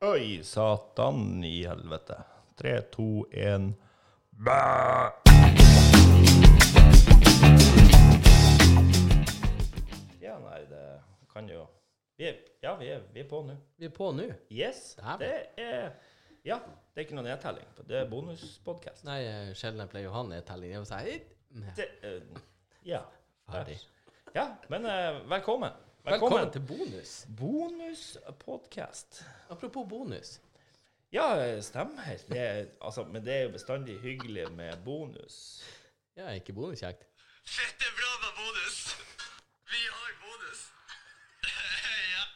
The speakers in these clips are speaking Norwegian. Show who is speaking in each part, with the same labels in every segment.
Speaker 1: Oi, satan i helvete. Tre, to, én Bæ! Ja, nei, det kan jo vi er, Ja, vi er, vi er på nå.
Speaker 2: Vi er på nå.
Speaker 1: Yes.
Speaker 2: Dæven.
Speaker 1: Det er Ja, det er ikke noe nedtelling. for Det er bonuspodkast.
Speaker 2: Nei, eh, sjelden jeg pleier å ha nedtelling. Jeg vil si «Hit!» Ja,
Speaker 1: Det, eh, ja.
Speaker 2: ferdig.
Speaker 1: ja. Men eh, velkommen.
Speaker 2: Velkommen til bonus.
Speaker 1: Bonuspodkast.
Speaker 2: Apropos bonus.
Speaker 1: Ja, stemmer. Det, er- altså, men det er jo bestandig hyggelig med bonus.
Speaker 2: Ja, ikke bonuskjekt.
Speaker 3: Fett, det er bra med bonus! Vi har bonus! ja.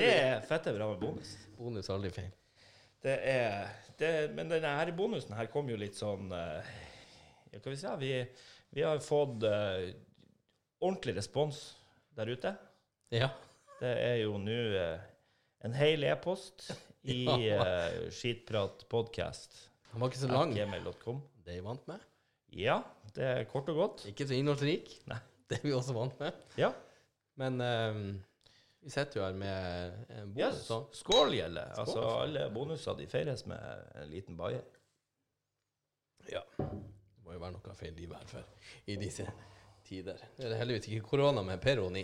Speaker 1: Det er fette bra med bonus.
Speaker 2: Bonus er aldri feil.
Speaker 1: Det er, det, men denne her bonusen her kom jo litt sånn eh, Ja, hva vi si? Vi, vi har fått eh, ordentlig respons der ute.
Speaker 2: Ja.
Speaker 1: Det er jo nå eh, en hel e-post i
Speaker 2: Ja.
Speaker 1: eh, skitpratpodkast.gmail.com.
Speaker 2: Han var ikke så lang. Det er vi vant med.
Speaker 1: Ja, det er kort og godt.
Speaker 2: Ikke så innholdsrik.
Speaker 1: Nei.
Speaker 2: Det er vi også vant med.
Speaker 1: Ja.
Speaker 2: Men eh, vi sitter jo her med en
Speaker 1: Ja,
Speaker 2: bonus. da.
Speaker 1: skål gjelder. Altså,
Speaker 2: Skål.
Speaker 1: alle bonuser de feires med en liten baie.
Speaker 2: Ja. Det må jo være noe feil liv her for i disse tider. Det er heldigvis ikke korona med Peroni.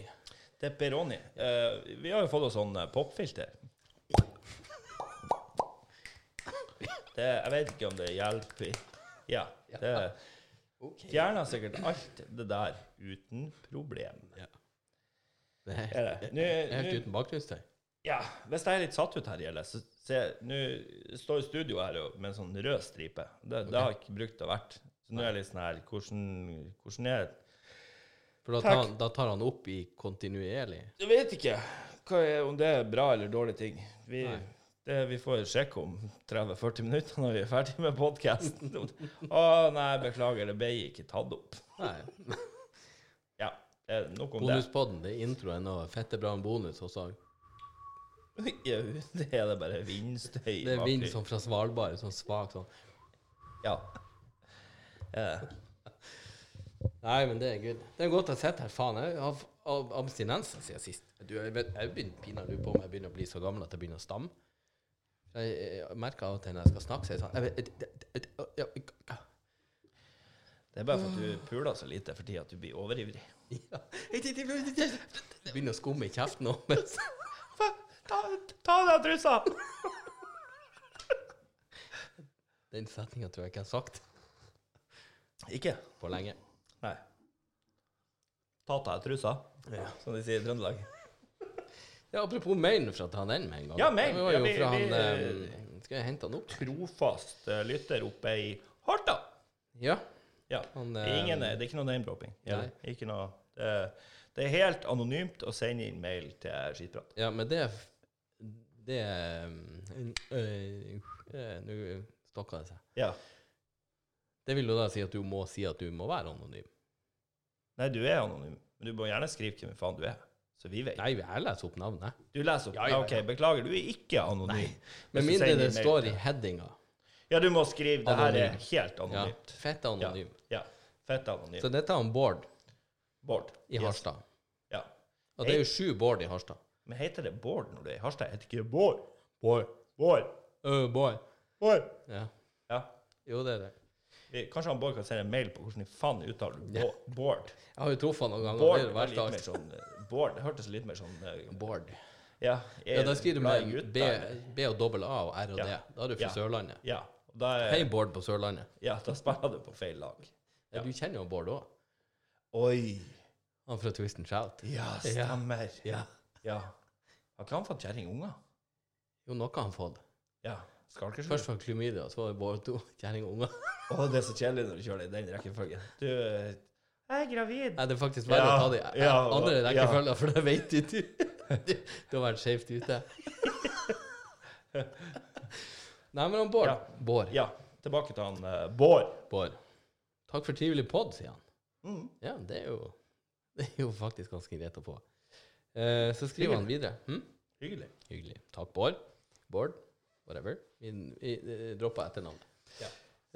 Speaker 1: Det er Peroni. Eh, vi har jo fått oss sånn eh, popfilter. Det, jeg vet ikke om det hjelper. Ja, det
Speaker 2: Ok.
Speaker 1: fjerner sikkert alt det der uten problem.
Speaker 2: Ja. Det er
Speaker 1: Er det? Nå,
Speaker 2: helt
Speaker 1: nå,
Speaker 2: uten bakgrunnstøy.
Speaker 1: ja, hvis jeg er litt satt ut her, Gjelle, så se, nå står studioet her jo med en sånn rød stripe. Det, det har jeg ikke brukt og vært. Så nå er jeg litt sånn her, hvordan, hvordan er det?
Speaker 2: For da tar, han, da tar han opp i kontinuerlig.
Speaker 1: Jeg vet ikke hva er, om det er bra eller dårlig ting. Vi, det, vi får sjekke om 30-40 minutter når vi er ferdig med podkasten. Å nei, beklager, det ble ikke tatt opp.
Speaker 2: Nei.
Speaker 1: Ja, eh, nok om
Speaker 2: Bonuspodden, det er introen og fette bra med bonus også.
Speaker 1: det. Ja, det er det bare vindstøy.
Speaker 2: Det er
Speaker 1: bak
Speaker 2: vind
Speaker 1: i-
Speaker 2: sånn fra Svalbard, sånn svak sånn.
Speaker 1: Ja. Eh,
Speaker 2: Nei, men det er good. Det er godt å sitte her, faen. Jeg har f- av abstinensen siden sist. Du, jeg vet- jeg begynner pinadø på om jeg begynner å bli så gammel at jeg begynner å stamme. Jeg, jeg merker av og til når jeg skal snakke, så er jeg sånn jeg vet- det- det- det- det- ja, ja.
Speaker 1: det er bare for at du puler så lite for tida at du blir overivrig.
Speaker 2: Begynner å skumme i kjeften nå. mens-
Speaker 1: Ta, ta av deg trusa!
Speaker 2: Den setninga tror jeg ikke jeg har sagt
Speaker 1: Ikke?
Speaker 2: på lenge.
Speaker 1: Nei. Ta av deg trusa, som de sier i Trøndelag.
Speaker 2: Ja, apropos Maine, for å ta den med en gang.
Speaker 1: Ja, Maine.
Speaker 2: Det var jo
Speaker 1: Ja, vi-
Speaker 2: fra
Speaker 1: vi,
Speaker 2: han
Speaker 1: eh,
Speaker 2: eh, Skal jeg hente han opp?
Speaker 1: Trofast eh, lytter oppe i Harta.
Speaker 2: Ja.
Speaker 1: Ja.
Speaker 2: Han,
Speaker 1: det, er
Speaker 2: eh,
Speaker 1: ingen, det er ikke noe name-dropping. eller? Ikke noe, det, er- det er helt anonymt å sende inn mail til Skitprat.
Speaker 2: ja, men det Det eh, eh, eh, Nå stokka det seg.
Speaker 1: Ja.
Speaker 2: Det vil jo da si at du må si at du må være anonym.
Speaker 1: Nei, du er anonym, men du må gjerne skrive hvem faen du er. Så vi vet.
Speaker 2: Nei, jeg leser opp navnet.
Speaker 1: Du leser opp.
Speaker 2: Ja, ja, ja.
Speaker 1: OK, beklager, du er ikke anonym.
Speaker 2: Med
Speaker 1: Hvis du
Speaker 2: mindre
Speaker 1: sender
Speaker 2: det
Speaker 1: inn mail
Speaker 2: står i
Speaker 1: til-
Speaker 2: headinga.
Speaker 1: Ja, du må skrive. Det her er
Speaker 2: Anonym.
Speaker 1: helt
Speaker 2: Ja,
Speaker 1: anonymt.
Speaker 2: fett anonym.
Speaker 1: Ja. Fett anonym.
Speaker 2: Så dette er han Bård
Speaker 1: Bård.
Speaker 2: i
Speaker 1: Yes.
Speaker 2: Harstad.
Speaker 1: Ja.
Speaker 2: Og det er jo sju Bård i Harstad.
Speaker 1: Men heter det Bård når du er i Harstad? Heter ikke det Bård?
Speaker 2: Bård.
Speaker 1: Bård.
Speaker 2: Bård.
Speaker 1: Bård.
Speaker 2: Ja.
Speaker 1: Ja.
Speaker 2: Jo, det er det.
Speaker 1: Vi, kanskje han Bård kan sende en mail på hvordan i faen uttaler du Bå- Bård?
Speaker 2: Jeg har jo truffet han noen ganger.
Speaker 1: Bård,
Speaker 2: det er det
Speaker 1: var
Speaker 2: verste
Speaker 1: litt
Speaker 2: av
Speaker 1: mer
Speaker 2: alt.
Speaker 1: sånn, eh, Bård det hørtes litt mer sånn eh,
Speaker 2: Bård.
Speaker 1: Ja,
Speaker 2: Ja, da skriver du
Speaker 1: glad i
Speaker 2: med
Speaker 1: gutter,
Speaker 2: B,
Speaker 1: eller?
Speaker 2: B og dobbel A og R og D.
Speaker 1: Ja.
Speaker 2: Da er du fra
Speaker 1: Ja.
Speaker 2: Sørlandet.
Speaker 1: Ja, og da, er-
Speaker 2: Hei, Bård på Sørlandet.
Speaker 1: ja, da spiller du på feil lag.
Speaker 2: Ja, Du kjenner jo Bård òg.
Speaker 1: Oi!
Speaker 2: Han fra Twist and Shout.
Speaker 1: Ja, stemmer. Ja.
Speaker 2: Ja.
Speaker 1: Har ikke han fått kjerringunger?
Speaker 2: Jo, noe har han fått.
Speaker 1: Ja. Skalkersrud.
Speaker 2: Først var det klamydia, så var det Bård to kjerring og unger.
Speaker 1: Å, det er så kjedelig når du kjører det i den rekkefølgen. Du eh, Jeg er gravid.
Speaker 2: Nei, det er faktisk verre å ta de
Speaker 1: Ja, ja, og-
Speaker 2: andre rekkefølgen, for det vet du ikke. Du du har vært skjevt ute. Nei, men han Bård
Speaker 1: Ja.
Speaker 2: Bård.
Speaker 1: Ja. Tilbake til han eh, Bård.
Speaker 2: Bård. Takk for trivelig pod, sier han.
Speaker 1: Mm.
Speaker 2: Ja, det er jo, det er jo faktisk ganske greit å få. Eh, så skriver han videre. Hm?
Speaker 1: Hyggelig.
Speaker 2: Hyggelig. Takk, Bård. Bård, whatever. Vi, vi eh, dropper etternavnet.
Speaker 1: Ja.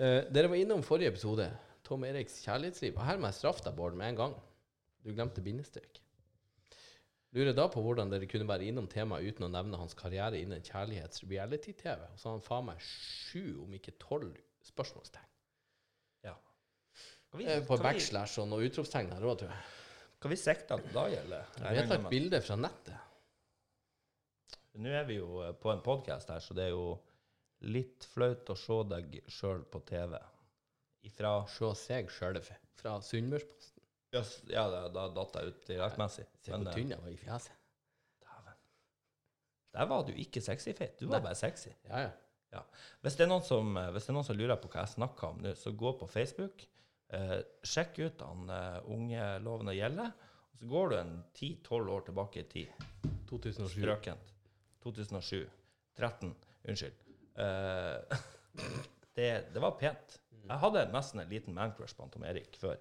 Speaker 2: Eh, dere var innom forrige episode, Tom Eriks kjærlighetsliv. Og her må jeg straffe deg, Bård, med en gang. Du glemte bindestrek. Lurer da på hvordan dere kunne være innom temaet uten å nevne hans karriere innen kjærlighets-reality-TV. Og så har han faen meg sju, om ikke tolv, spørsmålstegn.
Speaker 1: Kan vi,
Speaker 2: Eh, På
Speaker 1: kan vi,
Speaker 2: backslash og noen utropstegn her òg, tror jeg.
Speaker 1: kan vi sekte han da, eller?
Speaker 2: Vi har tatt bilde fra nettet.
Speaker 1: Nå er vi jo eh, på en podkast her, så det er jo litt flaut å se deg sjøl på TV. Ifra
Speaker 2: Se seg sjølve fra Sunnmørsposten.
Speaker 1: Jøss, Ja, da, da datt jeg ut direktmessig.
Speaker 2: Se
Speaker 1: Men
Speaker 2: hvor
Speaker 1: eh,
Speaker 2: tynn jeg var i fjeset.
Speaker 1: dæven. Der var du ikke sexy feit. Du var bare sexy.
Speaker 2: Ja, ja.
Speaker 1: Ja. Hvis, det er noen som, eh, hvis det er noen som lurer på hva jeg snakker om nå, så gå på Facebook. Eh, sjekk ut han eh, unge Loven og Gjelle. og Så går du en 10-12 år tilbake i tid.
Speaker 2: 2007.
Speaker 1: Strøkent. 2007. 13. Unnskyld. Eh, det, det var pent. Jeg hadde nesten en liten mancrush på han Tom Erik før.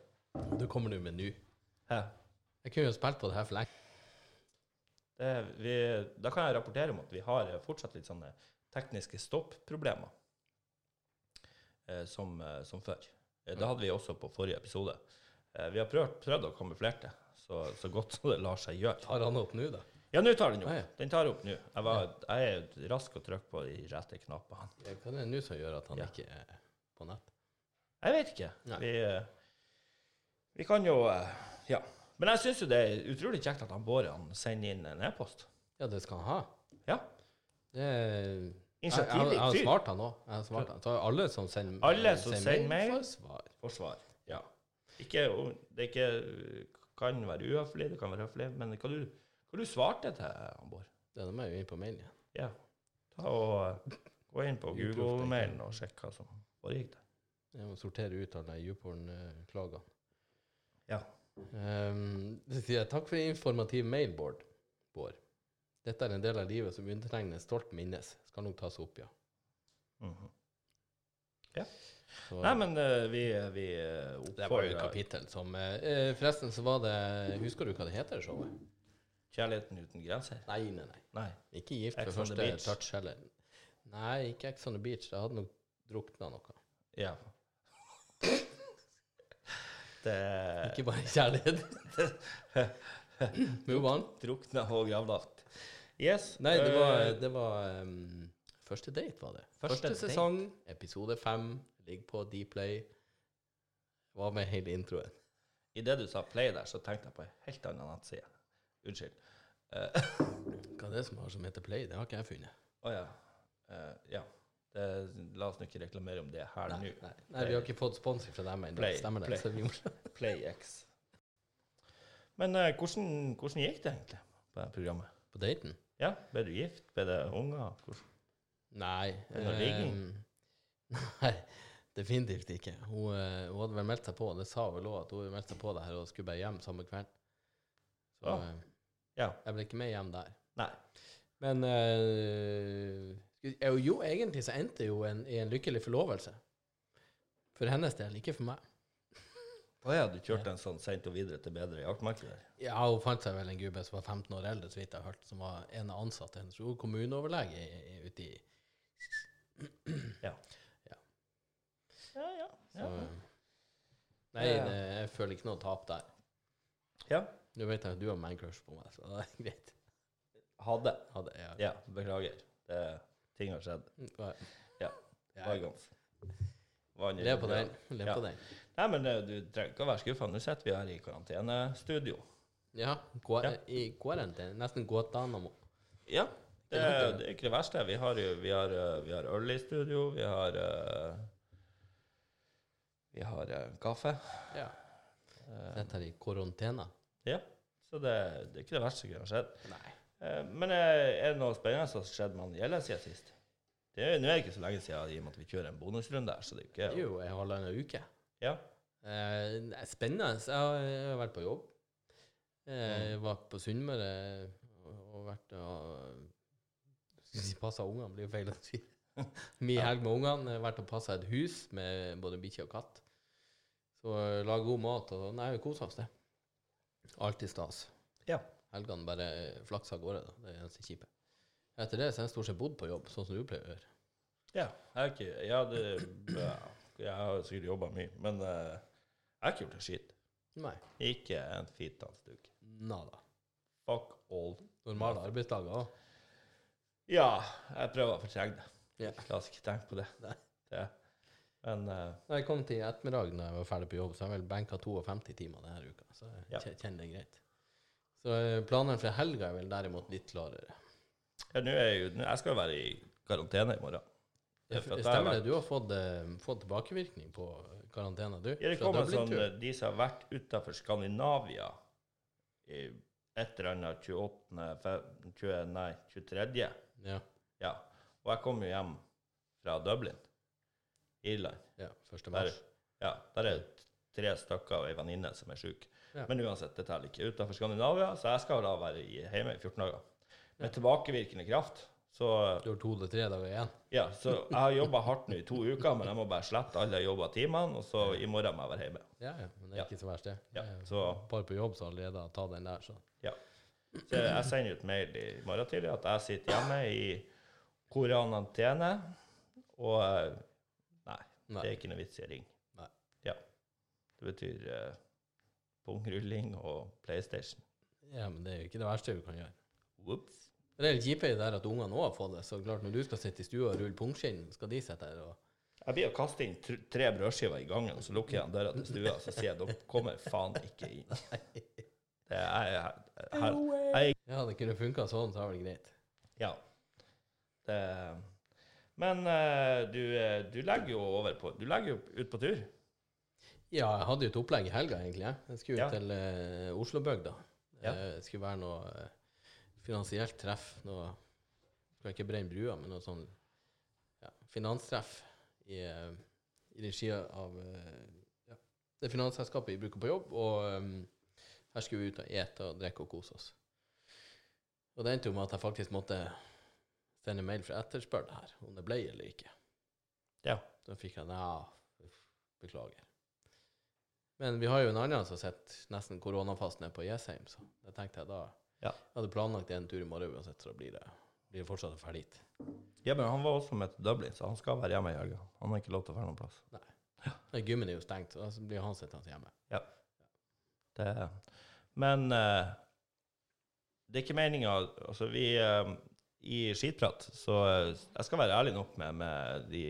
Speaker 2: Det kommer du med nå.
Speaker 1: Hæ?
Speaker 2: Jeg kunne jo spilt på det her for lenge.
Speaker 1: Det, vi, da kan jeg rapportere om at vi har eh, fortsatt litt sånne tekniske stopp-problemer eh, som, eh, som før. Eh, Det hadde vi også på forrige episode. Eh, vi har prøvd, prøvd å kamuflere det så, så godt som det lar seg gjøre.
Speaker 2: Tar han opp nå, da?
Speaker 1: Ja, nå tar den
Speaker 2: Ja, ja.
Speaker 1: opp. Den tar opp nå. Jeg, var, jeg er rask å trykke på de rette knappene.
Speaker 2: Ja, Hva er det nå som gjør at han
Speaker 1: Ja.
Speaker 2: ikke er på nett?
Speaker 1: Jeg vet ikke.
Speaker 2: Nei.
Speaker 1: Vi, eh, vi kan jo eh, Ja. Men jeg syns jo det er utrolig kjekt at han Bård han sender inn en e-post.
Speaker 2: Ja, det skal han ha.
Speaker 1: Ja.
Speaker 2: Det er Jeg- jeg- Jeg
Speaker 1: Initiativrik
Speaker 2: har
Speaker 1: fyr.
Speaker 2: svart han òg. Jeg har svart han. Så alle som sender
Speaker 1: Alle som sender mail.
Speaker 2: får svar.
Speaker 1: Forsvar.
Speaker 2: Ja.
Speaker 1: Ikke, om- det er ikke, kan være uhøflig, det kan være høflig, men hva du, hva du svarte til han Bård?
Speaker 2: Det må jeg jo inn på mailen igjen.
Speaker 1: Ja. Ta og eh, Gå inn på
Speaker 2: Uproft,
Speaker 1: Google-mailen og sjekk hva som foregikk der.
Speaker 2: Jeg må sortere ut alle YouPorn-klagene.
Speaker 1: Ja.
Speaker 2: Ehm, så sier jeg takk for informativ mail, Bård. Bård. Dette er en del av livet som undertegnede stolt minnes. Skal nok tas opp, ja.
Speaker 1: Mhm.
Speaker 2: Så-
Speaker 1: Nei, men eh, vi, vi eh,
Speaker 2: det var jo et
Speaker 1: oppfordrer
Speaker 2: kapittel som eh, Forresten så var det Husker du hva det heter, showet?
Speaker 1: Kjærligheten uten grenser.
Speaker 2: Nei, nei, nei.
Speaker 1: Nei.
Speaker 2: Ikke gift ved
Speaker 1: Ex on the
Speaker 2: første
Speaker 1: beach.
Speaker 2: touch heller. Nei, ikke Ex on the beach. Det hadde nok drukna noe.
Speaker 1: Ja. Det
Speaker 2: Ikke bare kjærlighet. Move on.
Speaker 1: drukna og gravlagt. Yes.
Speaker 2: Nei, det var,
Speaker 1: eh,
Speaker 2: det var um, Første date, var det.
Speaker 1: Første
Speaker 2: Første,
Speaker 1: date.
Speaker 2: sesong, episode fem. Ligger på Dplay. Var med hele introen.
Speaker 1: I det du sa play der, så tenkte jeg på en helt annen nettside. Unnskyld.
Speaker 2: Hva er det som har som heter Play? Det har ikke jeg funnet.
Speaker 1: Å ja. Eh, ja. Det, la oss nå ikke reklamere om det her nå.
Speaker 2: Nei, nei, nei, vi har ikke fått sponsor fra dem ennå.
Speaker 1: Play,
Speaker 2: Stemmer det?
Speaker 1: Play.
Speaker 2: Så vi må
Speaker 1: PlayX. Men eh, hvordan, hvordan gikk det egentlig på det programmet?
Speaker 2: på daten?
Speaker 1: Ja, Ble du gift? Ble det unger? Hvordan?
Speaker 2: Nei.
Speaker 1: Er det noe ligging?
Speaker 2: ehm, nei, definitivt ikke. Hun, eh, hun hadde vel meldt seg på, det sa hun vel òg, at hun meldte seg på det her og skulle bare hjem samme kveld. Så
Speaker 1: Ah,
Speaker 2: eh,
Speaker 1: ja.
Speaker 2: jeg ble ikke med hjem der.
Speaker 1: Nei.
Speaker 2: Men eh, skulle- jo, jo, egentlig så endte det jo en, i en lykkelig forlovelse. For hennes del, ikke for meg.
Speaker 1: Å ja, du kjørte en sånn sendt og videre til bedre jaktmarked? der.
Speaker 2: Ja, Hun fant seg vel en gubbe som var 15 år eldre, så vidt jeg har hørt, som var en av ansatte hennes. Hun var kommuneoverlege i- i- ute i
Speaker 1: Ja, ja.
Speaker 2: så, eh,
Speaker 1: ja.
Speaker 2: Nei,
Speaker 1: Ja, ja.
Speaker 2: det, jeg føler ikke noe tap der.
Speaker 1: ja.
Speaker 2: Nå vet jeg at du har mancrush på meg, så det er greit.
Speaker 1: Hadde.
Speaker 2: Hadde, ja.
Speaker 1: Ja, beklager. Det, ting har skjedd. Ja. Vargans. Vann i
Speaker 2: Lev på
Speaker 1: brød.
Speaker 2: den. Lev
Speaker 1: Ja.
Speaker 2: på den.
Speaker 1: Nei, men eh, du trenger ikke å være skuffa. Nå sitter vi her i karantenestudio.
Speaker 2: Ja. Gå,
Speaker 1: Ja.
Speaker 2: I kvarantene. Nesten Guatánamo.
Speaker 1: Ja. Det,
Speaker 2: Det
Speaker 1: det er ikke det verste. Vi har, jo- vi har, eh, vi har øl i studio, vi har eh, Vi har eh, kaffe.
Speaker 2: Ja. Dette er i karantene.
Speaker 1: Ja. Så det, det er ikke det verste som kunne ha skjedd.
Speaker 2: Nei.
Speaker 1: Eh, Men eh, er det noe spennende som har skjedd med han Gjelle siden sist? Det er, nå er det ikke så lenge siden i og med at vi kjører en bonusrunde her, så det er
Speaker 2: Det
Speaker 1: jo
Speaker 2: er
Speaker 1: ikke
Speaker 2: jo en halvannen uke.
Speaker 1: Ja.
Speaker 2: Eh, det er spennende. Jeg har, jeg har vært på jobb. Eh,
Speaker 1: Mm.
Speaker 2: jeg var på Sunnmøre og, og vært og passa ungene, blir jo feil å si. Mye helg med ungene. Jeg har vært og passa et hus med både bikkje og katt. Så eh, laga god mat og Nei, vi kosa oss, det. Alltid stas.
Speaker 1: Ja.
Speaker 2: Helgene bare flakser av gårde, da. Det er det eneste kjipe. Etter det så har jeg stort sett bodd på jobb, sånn som du pleier å gjøre.
Speaker 1: Ja, jeg har ikke Jeg, hadde, ja, jeg har sikkert jobba mye, men eh, jeg har ikke gjort en skitt.
Speaker 2: Nei.
Speaker 1: Ikke en fitans duk.
Speaker 2: Nada.
Speaker 1: Fuck all.
Speaker 2: Normale arbeidsdager òg.
Speaker 1: Ja, jeg prøver å fortrenge det.
Speaker 2: Ja.
Speaker 1: La oss ikke tenke på det.
Speaker 2: Nei.
Speaker 1: det. Men eh,
Speaker 2: Da jeg kom til ettermiddagen da jeg var ferdig på jobb, så har jeg vel benka 52 timer denne uka. Så jeg
Speaker 1: Ja.
Speaker 2: kje- kjenner det greit. Så eh, planene for helga er vel derimot litt klarere.
Speaker 1: ja, nå er jeg jo nå- Jeg skal jo være i karantene i morgen. Det er for at jeg har
Speaker 2: Stemmer det,
Speaker 1: vært-
Speaker 2: du har fått, eh, fått tilbakevirkning på karantena, du?
Speaker 1: Ja, det
Speaker 2: Fra
Speaker 1: kom en sånn
Speaker 2: Dublin-tur.
Speaker 1: eh, De som har vært utenfor Skandinavia i et eller annet 28. fe- 20, Nei, 23.
Speaker 2: Ja,
Speaker 1: Ja. Og jeg kom jo hjem fra Dublin, Irland.
Speaker 2: ja, 1.
Speaker 1: Der,
Speaker 2: mars.
Speaker 1: ja, der er det tre stykker og ei venninne som er sjuk.
Speaker 2: Ja.
Speaker 1: Men uansett, det teller ikke. Utenfor Skandinavia, så jeg skal da være i- hjemme i 14 dager. Med tilbakevirkende kraft. Så,
Speaker 2: Du har to eller tre dager igjen.
Speaker 1: ja, så jeg har jobba hardt nå i to uker, men jeg må bare slette alle jobba timene, og så i morgen må jeg være hjemme.
Speaker 2: Ja, ja, men det er
Speaker 1: Ja.
Speaker 2: ikke så verst, det.
Speaker 1: Ja,
Speaker 2: Det er
Speaker 1: så
Speaker 2: et par på jobb som allerede har tatt den der, så
Speaker 1: Ja. Så jeg sender ut mail i morgen tidlig at jeg sitter hjemme i koranantene, og eh, nei,
Speaker 2: Nei.
Speaker 1: det er ikke noe vits i å ringe.
Speaker 2: Nei.
Speaker 1: Ja. Det betyr eh, pungrulling og PlayStation.
Speaker 2: Ja, men det er jo ikke det verste vi kan gjøre.
Speaker 1: Whoops.
Speaker 2: Det er litt kjipt i det der at ungene òg har fått det. Så klart, når du skal sitte i stua og rulle pungskinn, skal de sitte her og
Speaker 1: Jeg blir å kaste inn tr tre brødskiver i gangen, så lukker jeg igjen døra til stua, så sier jeg dere kommer faen ikke inn. Det er, her, her, jeg,
Speaker 2: Ja, det kunne funka sånn, så er det greit.
Speaker 1: ja. Det, men eh, du, eh, du legger jo over på Du legger jo ut på tur.
Speaker 2: Ja, jeg hadde jo et opplegg i helga, egentlig. Jeg, jeg skulle jo
Speaker 1: Ja.
Speaker 2: til eh, Oslobygda.
Speaker 1: Ja.
Speaker 2: Eh, Det skulle være noe eh, finansielt treff. Noe Skal ikke brenne brua, men noe sånn ja, finanstreff i, eh, i regi av eh, ja, det finansselskapet jeg bruker på jobb. Og eh, her skulle vi ut og ete og drikke og kose oss. Og det endte jo med at jeg faktisk måtte sende mail for å etterspørre det her, om det ble eller ikke.
Speaker 1: Ja.
Speaker 2: Da fikk jeg ja, uff, beklager. Men vi har jo en annen som sitter nesten koronafast nede på Jessheim, så da tenkte jeg da
Speaker 1: Ja.
Speaker 2: Jeg hadde planlagt en tur i morgen uansett, så da blir det, blir det fortsatt ferdig dit.
Speaker 1: Ja, men han var også med til Dublin, så han skal være hjemme i helga. Han har ikke lov til å være noen plass.
Speaker 2: Nei, Gymmen er jo stengt, så da blir han sittende hjemme.
Speaker 1: Det, men eh, det er ikke meninga Altså, vi eh, i skitprat, så eh, jeg skal være ærlig nok med, med de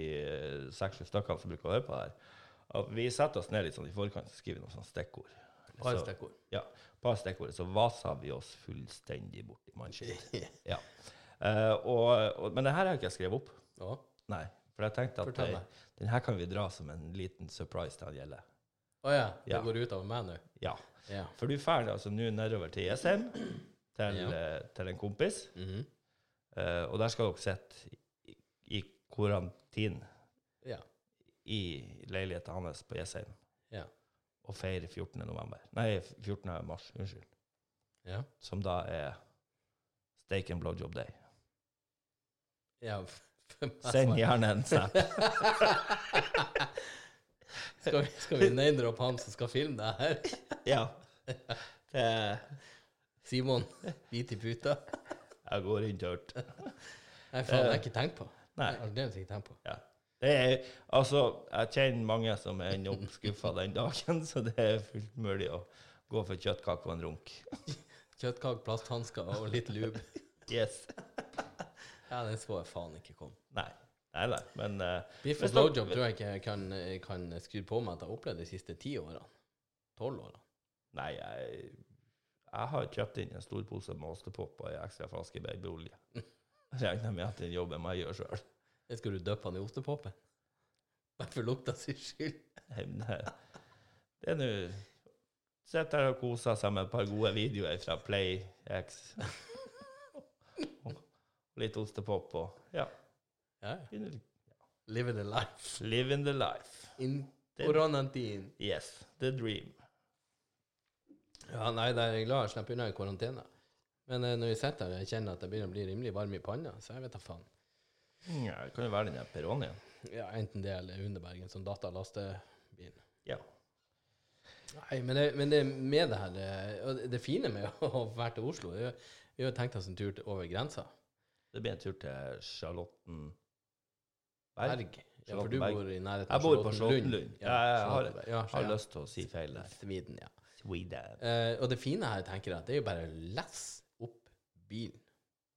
Speaker 1: seks-sju stykkene som bruker å høre på det her, at vi setter oss ned litt sånn i forkant og skriver noen sånne stikkord.
Speaker 2: Bare
Speaker 1: Så-
Speaker 2: stikkord.
Speaker 1: Ja, bare stikkordet. Så vasa vi oss fullstendig bort i mannskitt. Ja. Eh, og, og, men det her har jeg ikke skrevet opp.
Speaker 2: Ja.
Speaker 1: Nei. For jeg tenkte at
Speaker 2: Fortell
Speaker 1: eh,
Speaker 2: meg.
Speaker 1: den her kan vi dra som en liten surprise til han gjelder.
Speaker 2: Å ja, det
Speaker 1: Ja.
Speaker 2: går ut over meg nå?
Speaker 1: Ja.
Speaker 2: Ja.
Speaker 1: For du drar altså nå nedover til Jessheim, til,
Speaker 2: Ja.
Speaker 1: eh, til en kompis,
Speaker 2: Mhm.
Speaker 1: eh, og der skal dere sitte i, i karantin
Speaker 2: ja.
Speaker 1: i leiligheten hans på Jessheim
Speaker 2: Ja.
Speaker 1: og feire 14. november. Nei, 14. mars, unnskyld.
Speaker 2: Ja.
Speaker 1: Som da er steak and blowjob day.
Speaker 2: ja. for meg
Speaker 1: Send
Speaker 2: svarer-
Speaker 1: gjerne en snap.
Speaker 2: Skal vi, skal vi name-droppe han som skal filme det her?
Speaker 1: ja. Det,
Speaker 2: Simon, bit i puta?
Speaker 1: jeg går inn tørt.
Speaker 2: Nei, faen, det har jeg ikke tenkt på.
Speaker 1: Nei.
Speaker 2: Jeg har aldeles ikke tenkt på.
Speaker 1: Ja. Det er, altså, jeg kjenner mange som ender opp skuffa den dagen, så det er fullt mulig å gå for kjøttkake og en runk.
Speaker 2: Kjøttkake, plasthansker og litt lube.
Speaker 1: Yes.
Speaker 2: Ja, den så jeg faen ikke komme.
Speaker 1: Nei. Nei, nei, men eh,
Speaker 2: Biff
Speaker 1: Men
Speaker 2: og
Speaker 1: snakk-
Speaker 2: blowjob tror jeg ikke jeg kan, eh, kan skru på meg at jeg har opplevd de siste ti årene. Tolv årene.
Speaker 1: Nei, jeg, jeg har kjøpt inn en stor pose med ostepop og ei ekstra flaske babyolje. Regner med at den jobben må jeg gjøre sjøl.
Speaker 2: Jeg skal du døpe han i ostepopen? Bare for lukta sin skyld.
Speaker 1: Det er nå Sitter her og koser seg med et par gode videoer fra PlayX. Og Litt ostepop og Ja.
Speaker 2: Ja. Live the life.
Speaker 1: Living the life.
Speaker 2: In
Speaker 1: Det-
Speaker 2: koronatiden.
Speaker 1: Yes, the dream.
Speaker 2: Ja, nei, det er jeg glad jeg slipper unna i karantene. Men eh, når vi sitter her, jeg kjenner at jeg begynner å bli rimelig varm i panna, så jeg vet da faen.
Speaker 1: Mm, Ja, det kan jo være den der Peronien.
Speaker 2: Ja, enten det eller Underbergen som datalastebil.
Speaker 1: Ja.
Speaker 2: Nei, men det, men det med det her eh, og det- Det fine med å være til Oslo det er jo- Vi har jo tenkt oss en tur til over grensa.
Speaker 1: Det blir en tur til Charlotten Berg.
Speaker 2: Berg. Ja, for du
Speaker 1: Charlottenberg.
Speaker 2: bor i nærheten
Speaker 1: Jeg bor på Charlottenlund.
Speaker 2: Ja,
Speaker 1: Jeg har-
Speaker 2: Charlottenberg. ja,
Speaker 1: Jeg har
Speaker 2: ja.
Speaker 1: lyst til å si feil der.
Speaker 2: Sweden, ja.
Speaker 1: Sweden.
Speaker 2: Eh, og det fine her tenker jeg, at det er jo bare less bilen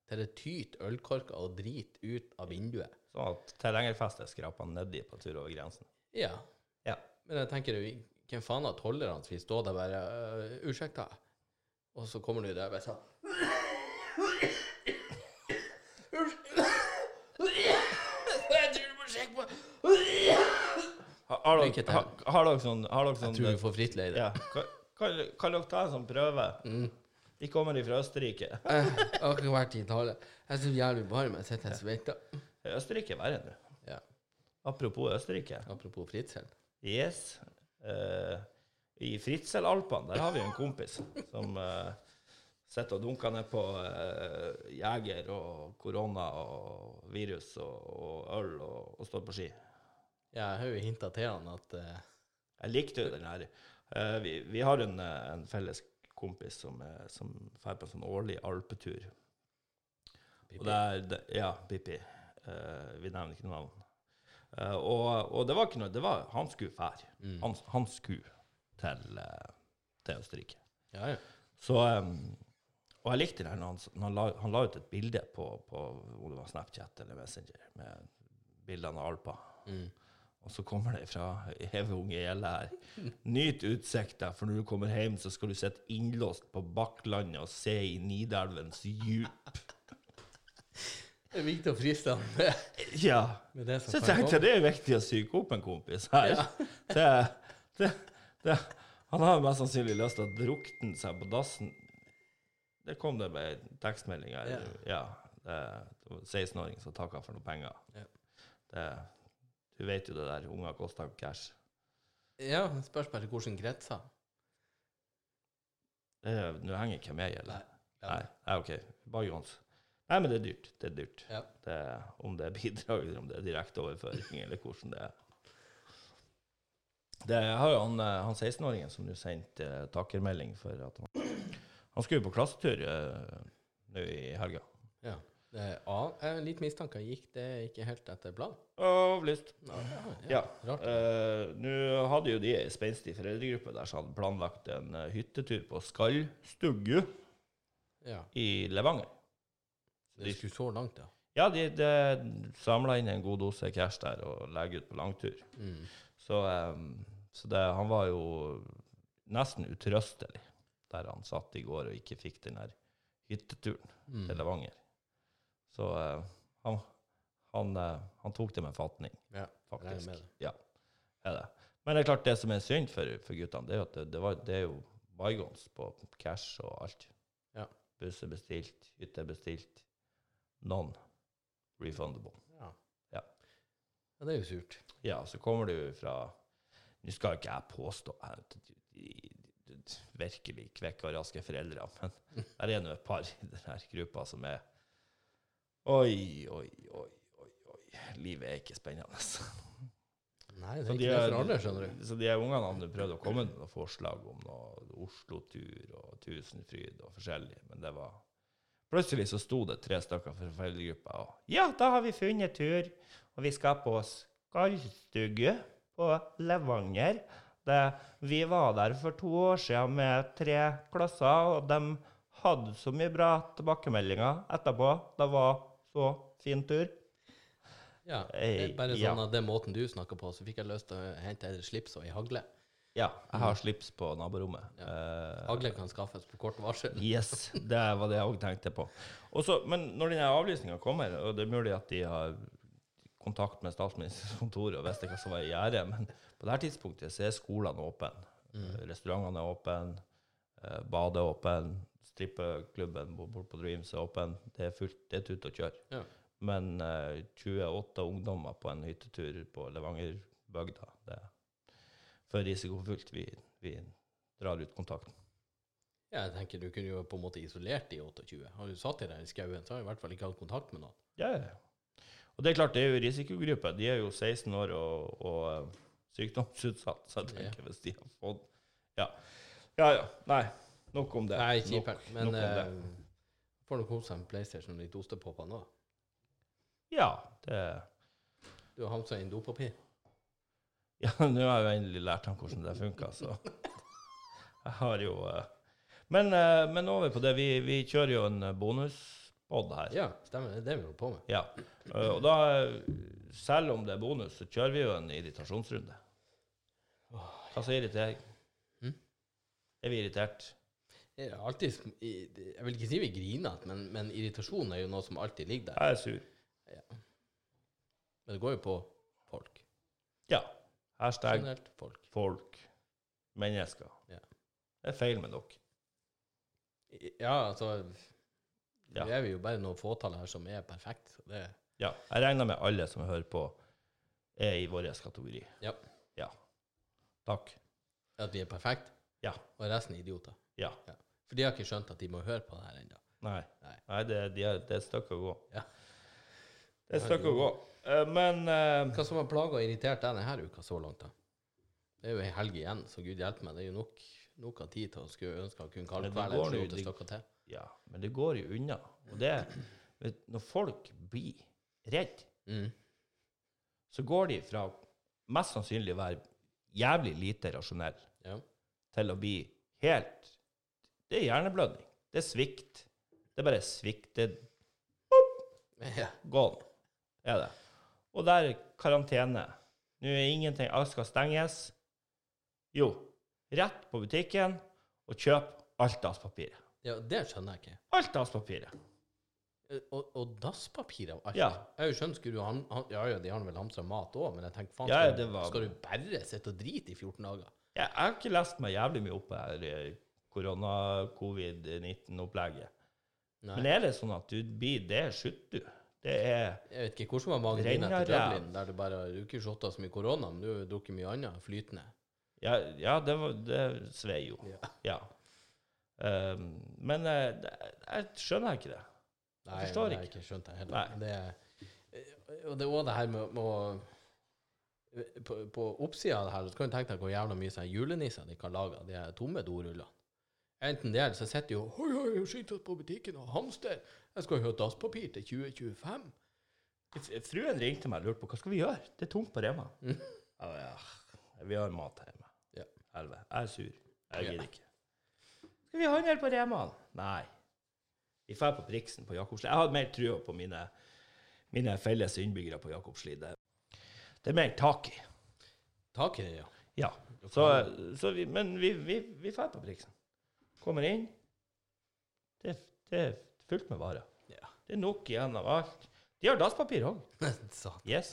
Speaker 2: til det tyter ølkorker og drit ut av vinduet.
Speaker 1: Sånn at tilhengerfestet skrapa nedi på tur over grensen.
Speaker 2: Ja.
Speaker 1: Ja.
Speaker 2: Men jeg tenker, jo, hvem faen har tollerne som vil stå der og bare «Øh, 'Unnskyld, da.' Og så kommer du der og bare sånn Jeg tror du må sjekke på
Speaker 1: Har, har, dere,
Speaker 2: Lykke til.
Speaker 1: har, har dere sånn, har dere
Speaker 2: Jeg
Speaker 1: sånn
Speaker 2: tror du får fritt leide. Mm.
Speaker 1: ja. Hva hva- hva dere ta en sånn prøve? De kommer fra Østerrike.
Speaker 2: Jeg Eh, har ikke vært i Italia. Jeg er så jævlig varm. Jeg sitter her og svetter.
Speaker 1: Østerrike er verre nå.
Speaker 2: Ja.
Speaker 1: Apropos Østerrike.
Speaker 2: Apropos fritzel.
Speaker 1: Yes. Eh, I Fritzelalpene, der har vi en kompis som eh, sitter og dunker ned på eh, jeger og korona og virus og, og øl og, og står på ski.
Speaker 2: Ja, jeg har jo hinta til han at eh,
Speaker 1: Jeg likte jo den her. Eh, vi, vi har en, eh, en felles kompis som, eh, som drar på en sånn årlig alpetur. Og der, det, ja, Pippi. Eh, vi nevner ikke noe navn. Eh, og, og det var ikke noe Det var han skulle fære.
Speaker 2: Mm.
Speaker 1: Han, han skulle til, eh, til Østerrike.
Speaker 2: Ja, ja.
Speaker 1: Så em, Og jeg likte det her når han, s- når han, la, han la ut et bilde på, på om det var Snapchat eller Messenger med bildene av Alpa.
Speaker 2: Mm.
Speaker 1: Og så kommer det fra Evunge Gjelle her. Nyt utsikta, for når du kommer hjem, så skal du sitte innlåst på Bakklandet og se i Nidelvens djup.
Speaker 2: Det er viktig å friste han med,
Speaker 1: Ja.
Speaker 2: med det som
Speaker 1: Så jeg
Speaker 2: kan
Speaker 1: tenkte
Speaker 2: komme.
Speaker 1: det er viktig å psyke opp en kompis her. Det, det, det, han har mest sannsynlig lyst til å drukne seg på dassen. Det kom det med en tekstmelding her. Ja. det, det var en 16-åring som takka for noen penger.
Speaker 2: Ja.
Speaker 1: Det, du vet jo det der, unger koster cash.
Speaker 2: Ja, det spørs bare hvordan kretser.
Speaker 1: Det er- Nå henger ikke jeg med,
Speaker 2: Nei.
Speaker 1: eller? Nei. Nei, OK. Bare Johans. Nei, men det er dyrt. Det er dyrt.
Speaker 2: Ja.
Speaker 1: Det, om det er bidrag, eller om det er direkte overføring, eller hvordan det er. Det har jo han, eh, han 16-åringen som nå sendte eh, takkermelding for at han Han skulle jo på klassetur eh, nå i helga.
Speaker 2: Ja. Det er, ja, jeg har litt mistanke. Gikk det ikke helt etter planen?
Speaker 1: Avlyst.
Speaker 2: Ja,
Speaker 1: Ja.
Speaker 2: Rart.
Speaker 1: eh, Nå hadde jo de ei spenstig foreldregruppe der som hadde planlagt en eh, hyttetur på Skallstuggu
Speaker 2: Ja.
Speaker 1: i Levanger.
Speaker 2: Det skulle så langt, ja.
Speaker 1: Ja, de, de samla inn en god dose cash der og legger ut på langtur.
Speaker 2: Mm.
Speaker 1: Så, em, så det, han var jo nesten utrøstelig der han satt i går og ikke fikk den her hytteturen
Speaker 2: Mm.
Speaker 1: til Levanger. Så eh, han, han, eh, han tok det med fatning,
Speaker 2: Ja, regner
Speaker 1: faktisk.
Speaker 2: med det.
Speaker 1: Ja, er det. Men det er klart det som er synd for, for guttene, det er jo at det, det, var, det er jo bygons på cash og alt.
Speaker 2: Ja.
Speaker 1: Buss er bestilt, hytte er bestilt. Non-refundable.
Speaker 2: Ja.
Speaker 1: Ja.
Speaker 2: Ja, det er jo surt.
Speaker 1: Ja, så kommer du fra Nå skal ikke jeg påstå at de- de- de- de virkelig kvekke og raske foreldre, men der er nå et par i denne gruppa som er Oi, oi, oi, oi. oi. Livet er ikke spennende.
Speaker 2: Nei, det
Speaker 1: Så
Speaker 2: er
Speaker 1: de,
Speaker 2: ikke noe
Speaker 1: er,
Speaker 2: for alle, skjønner du.
Speaker 1: så de her ungene hadde prøvd å komme med noen forslag om noe Oslo-tur og Tusenfryd og forskjellig, men det var Plutselig så sto det tre stykker fra foreldregruppa og Ja, da har vi funnet tur, og vi skal på Skallstugge på Levanger. Det, vi var der for to år siden med tre klasser, og de hadde så mye bra tilbakemeldinger etterpå. Det var så fin tur.
Speaker 2: Ja, det er bare
Speaker 1: Ja.
Speaker 2: sånn at den måten du snakker på, så fikk jeg lyst til å hente et slips og ei hagle.
Speaker 1: Ja, jeg har slips på naborommet. Eh,
Speaker 2: Hagle kan skaffes på kort varsel.
Speaker 1: Yes, det var det jeg òg tenkte på. Og så- men når denne avlysninga kommer, og det er mulig at de har kontakt med statsministerens kontor og visste hva som var i gjære, men på det her tidspunktet så er skolene åpne.
Speaker 2: Mm.
Speaker 1: Eh, Restaurantene er åpne, eh, badet er åpent, strippeklubben bo- bort på Dreams er åpen. Det er fullt, det er tut og kjør.
Speaker 2: Ja.
Speaker 1: Men eh, 28 ungdommer på en hyttetur på Levangerbygda, det er for risikofullt. Vi, vi drar ut kontakten.
Speaker 2: Ja, jeg tenker du kunne jo på en måte isolert de 28. Har du satt deg der i skauen, så har du i hvert fall ikke hatt kontakt med noen.
Speaker 1: Ja, ja. Og det er klart, det er jo risikogruppa. De er jo 16 år og, og eh, sykdomsutsatt, så jeg tenker hvis de har fått Ja. Ja, ja. Nei, nok om det.
Speaker 2: Nei,
Speaker 1: Nok-
Speaker 2: kjipert. Men
Speaker 1: nok om det.
Speaker 2: eh, får nok kose seg med PlayStation og litt ostepopper nå.
Speaker 1: Ja, det
Speaker 2: Du har hamstra inn dopapir.
Speaker 1: Ja, nå har jeg jo endelig lært ham hvordan det funker, så Jeg har jo eh, Men, eh, men over på det, vi, vi kjører jo en bonuspodd her.
Speaker 2: Ja, stemmer. Det er det vi holder på med.
Speaker 1: Ja. Eh, Og da, eh, selv om det er bonus, så kjører vi jo en irritasjonsrunde. Hva så irriterer jeg?
Speaker 2: Hm?
Speaker 1: Er vi irritert?
Speaker 2: Det er alltid, sm- i- det- jeg vil ikke si vi griner, men, men irritasjon er jo noe som alltid ligger der.
Speaker 1: Jeg er sur.
Speaker 2: Men det går jo på folk.
Speaker 1: Ja. Hashtag
Speaker 2: Generelt folk.
Speaker 1: folk. Mennesker.
Speaker 2: Ja.
Speaker 1: Det er feil med dere.
Speaker 2: I- Ja, altså
Speaker 1: Ja.
Speaker 2: Vi er vi jo bare noen fåtall her som er perfekt. så Det,
Speaker 1: Ja. Jeg regner med alle som hører på, er i vår kategori.
Speaker 2: Ja.
Speaker 1: ja. Takk.
Speaker 2: at vi er perfekt,
Speaker 1: Ja.
Speaker 2: og resten er idioter.
Speaker 1: Ja.
Speaker 2: For de har ikke skjønt at de må høre på det her ennå.
Speaker 1: Nei.
Speaker 2: Nei.
Speaker 1: Nei, det, de er, det er et stykke å gå.
Speaker 2: Ja.
Speaker 1: Det er et stykke å gå. Eh, Men eh,
Speaker 2: Hva som har plaga og irritert deg denne uka så langt, da? Det er jo ei helg igjen, så gud hjelpe meg. Det er jo nok, nok av tid til å skulle ønske å kunne kalle
Speaker 1: Men det
Speaker 2: hver
Speaker 1: går jo,
Speaker 2: eller to
Speaker 1: det-
Speaker 2: stykker til.
Speaker 1: Ja, men det går jo unna. Og det vet, Når folk blir redd,
Speaker 2: Mm.
Speaker 1: så går de fra mest sannsynlig å være jævlig lite rasjonell
Speaker 2: Ja.
Speaker 1: til å bli helt Det er hjerneblødning. Det er svikt. Det er bare svikt. Det er
Speaker 2: ja.
Speaker 1: gone. Er det. Og der er karantene. Nå er ingenting Alt skal stenges. Jo, rett på butikken og kjøp alt dasspapiret.
Speaker 2: ja, det skjønner jeg ikke.
Speaker 1: Alt dasspapiret.
Speaker 2: Og, og dasspapir av alt.
Speaker 1: Ja.
Speaker 2: Jeg har jo skjønt, skulle du han, han, Ja ja, de har vel hamstra mat òg, men jeg tenker faen,
Speaker 1: Ja,
Speaker 2: skal,
Speaker 1: det
Speaker 2: du-
Speaker 1: var-
Speaker 2: skal du bare sitte og drite i 14 dager?
Speaker 1: Jeg, jeg har ikke lest meg jævlig mye opp på her eh, korona-covid-19-opplegget.
Speaker 2: Nei.
Speaker 1: Men er det sånn at du blir Det er skytt, du. Det er
Speaker 2: Jeg vet ikke hvordan var magen din
Speaker 1: Renner
Speaker 2: etter
Speaker 1: ræv.
Speaker 2: Dublin, der du bare du har ikke shotta så mye korona, men du har drukket mye annet flytende.
Speaker 1: Ja, ja det, var, det svei jo.
Speaker 2: Ja.
Speaker 1: Ja. Ehm, men eh, det, jeg skjønner ikke det.
Speaker 2: Nei,
Speaker 1: forstår
Speaker 2: det har
Speaker 1: ikke.
Speaker 2: jeg ikke skjønt det
Speaker 1: Nei.
Speaker 2: heller. Det, er- og det er òg det her med, med å på, på oppsida av det her så kan du tenke deg hvor jævla mye sånne julenisser de kan lage av de her tomme dorullene. Enten det, eller så sitter de jo Hoi, hoi, jeg skyndte oss på butikken og hamster. Jeg skal jo ha dasspapir til 2025.
Speaker 1: F- Fruen ringte meg og lurte på hva skal vi gjøre. Det er tomt på Rema. Jeg ba, ja, vi har mat hjemme.
Speaker 2: Mm. Ja.
Speaker 1: Helvete. Jeg er sur. Jeg
Speaker 2: Ja.
Speaker 1: gidder ikke. Skal vi handle på Rema? Nei. Vi drar på Priksen på Jakobsli. Jeg hadde mer trua på mine, mine felles innbyggere på Jakobsli. Det, det er mer tak i.
Speaker 2: Tak i det, ja.
Speaker 1: Ja. Så, så vi, men vi, vi, vi drar på Priksen. Kommer inn. Det, det er fullt med varer.
Speaker 2: ja.
Speaker 1: Det er nok igjen av alt. De har dasspapir òg.
Speaker 2: Så,
Speaker 1: Yes.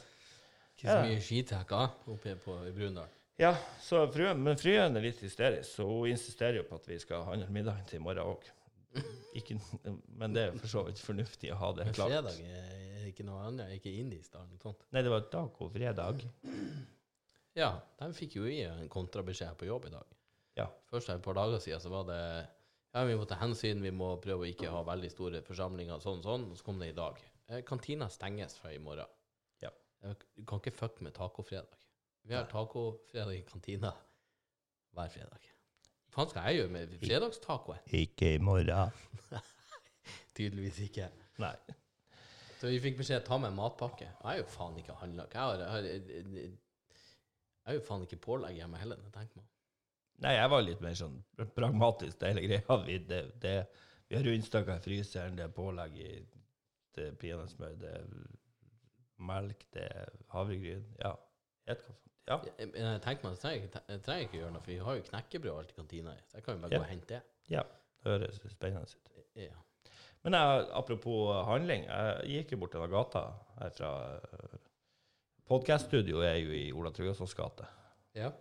Speaker 2: ikke så
Speaker 1: Ja.
Speaker 2: mye skitrekker oppe på i Brundal.
Speaker 1: Ja, så fruen, men fruen er litt hysterisk, så hun insisterer jo på at vi skal handle middagen til i morgen òg. Men det er for så vidt fornuftig å ha det
Speaker 2: Men
Speaker 1: klart.
Speaker 2: fredag er ikke noe annet, ikke indisk da, eller noe sånt.
Speaker 1: Nei, det var taco fredag.
Speaker 2: Ja, de fikk jo i en kontrabeskjed på jobb i dag.
Speaker 1: Ja.
Speaker 2: Først her et par dager siden så var det ja, vi må ta hensyn, vi må prøve å ikke ha veldig store forsamlinger, sånn sånn, og så kom det i dag. Eh, Kantina stenges fra i morgen.
Speaker 1: Ja.
Speaker 2: Eh, Du kan ikke fucke med tacofredag. Vi har tacofredag i kantina hver fredag. Hva faen skal jeg gjøre med fredagstacoen?
Speaker 1: Ikke i morgen.
Speaker 2: Tydeligvis ikke.
Speaker 1: Nei.
Speaker 2: Så vi fikk beskjed ta med en matpakke. Jeg har jo faen ikke handla. Jeg har, jeg har, jeg, har jo faen ikke pålegg hjemme heller. når jeg tenker meg om.
Speaker 1: Nei, jeg var litt mer sånn pragmatisk til hele greia. Vi, det, det, vi har rundstykker i fryseren, det er pålegg i det er peanøttsmør, det er melk, det er havregryn. Ja. Et kaffe. Ja.
Speaker 2: Jeg- Men jeg tenker meg, jeg trenger, ikke- jeg trenger ikke gjøre noe, for vi har jo knekkebrød og alt i kantina. Så jeg kan jo bare
Speaker 1: Ja.
Speaker 2: gå og hente det.
Speaker 1: Det høres spennende ut.
Speaker 2: Ja.
Speaker 1: Men jeg, apropos handling, jeg gikk jo bortover gata her fra eh, Podcaststudioet er jo i Ola Tryggvassons gate.
Speaker 2: ja.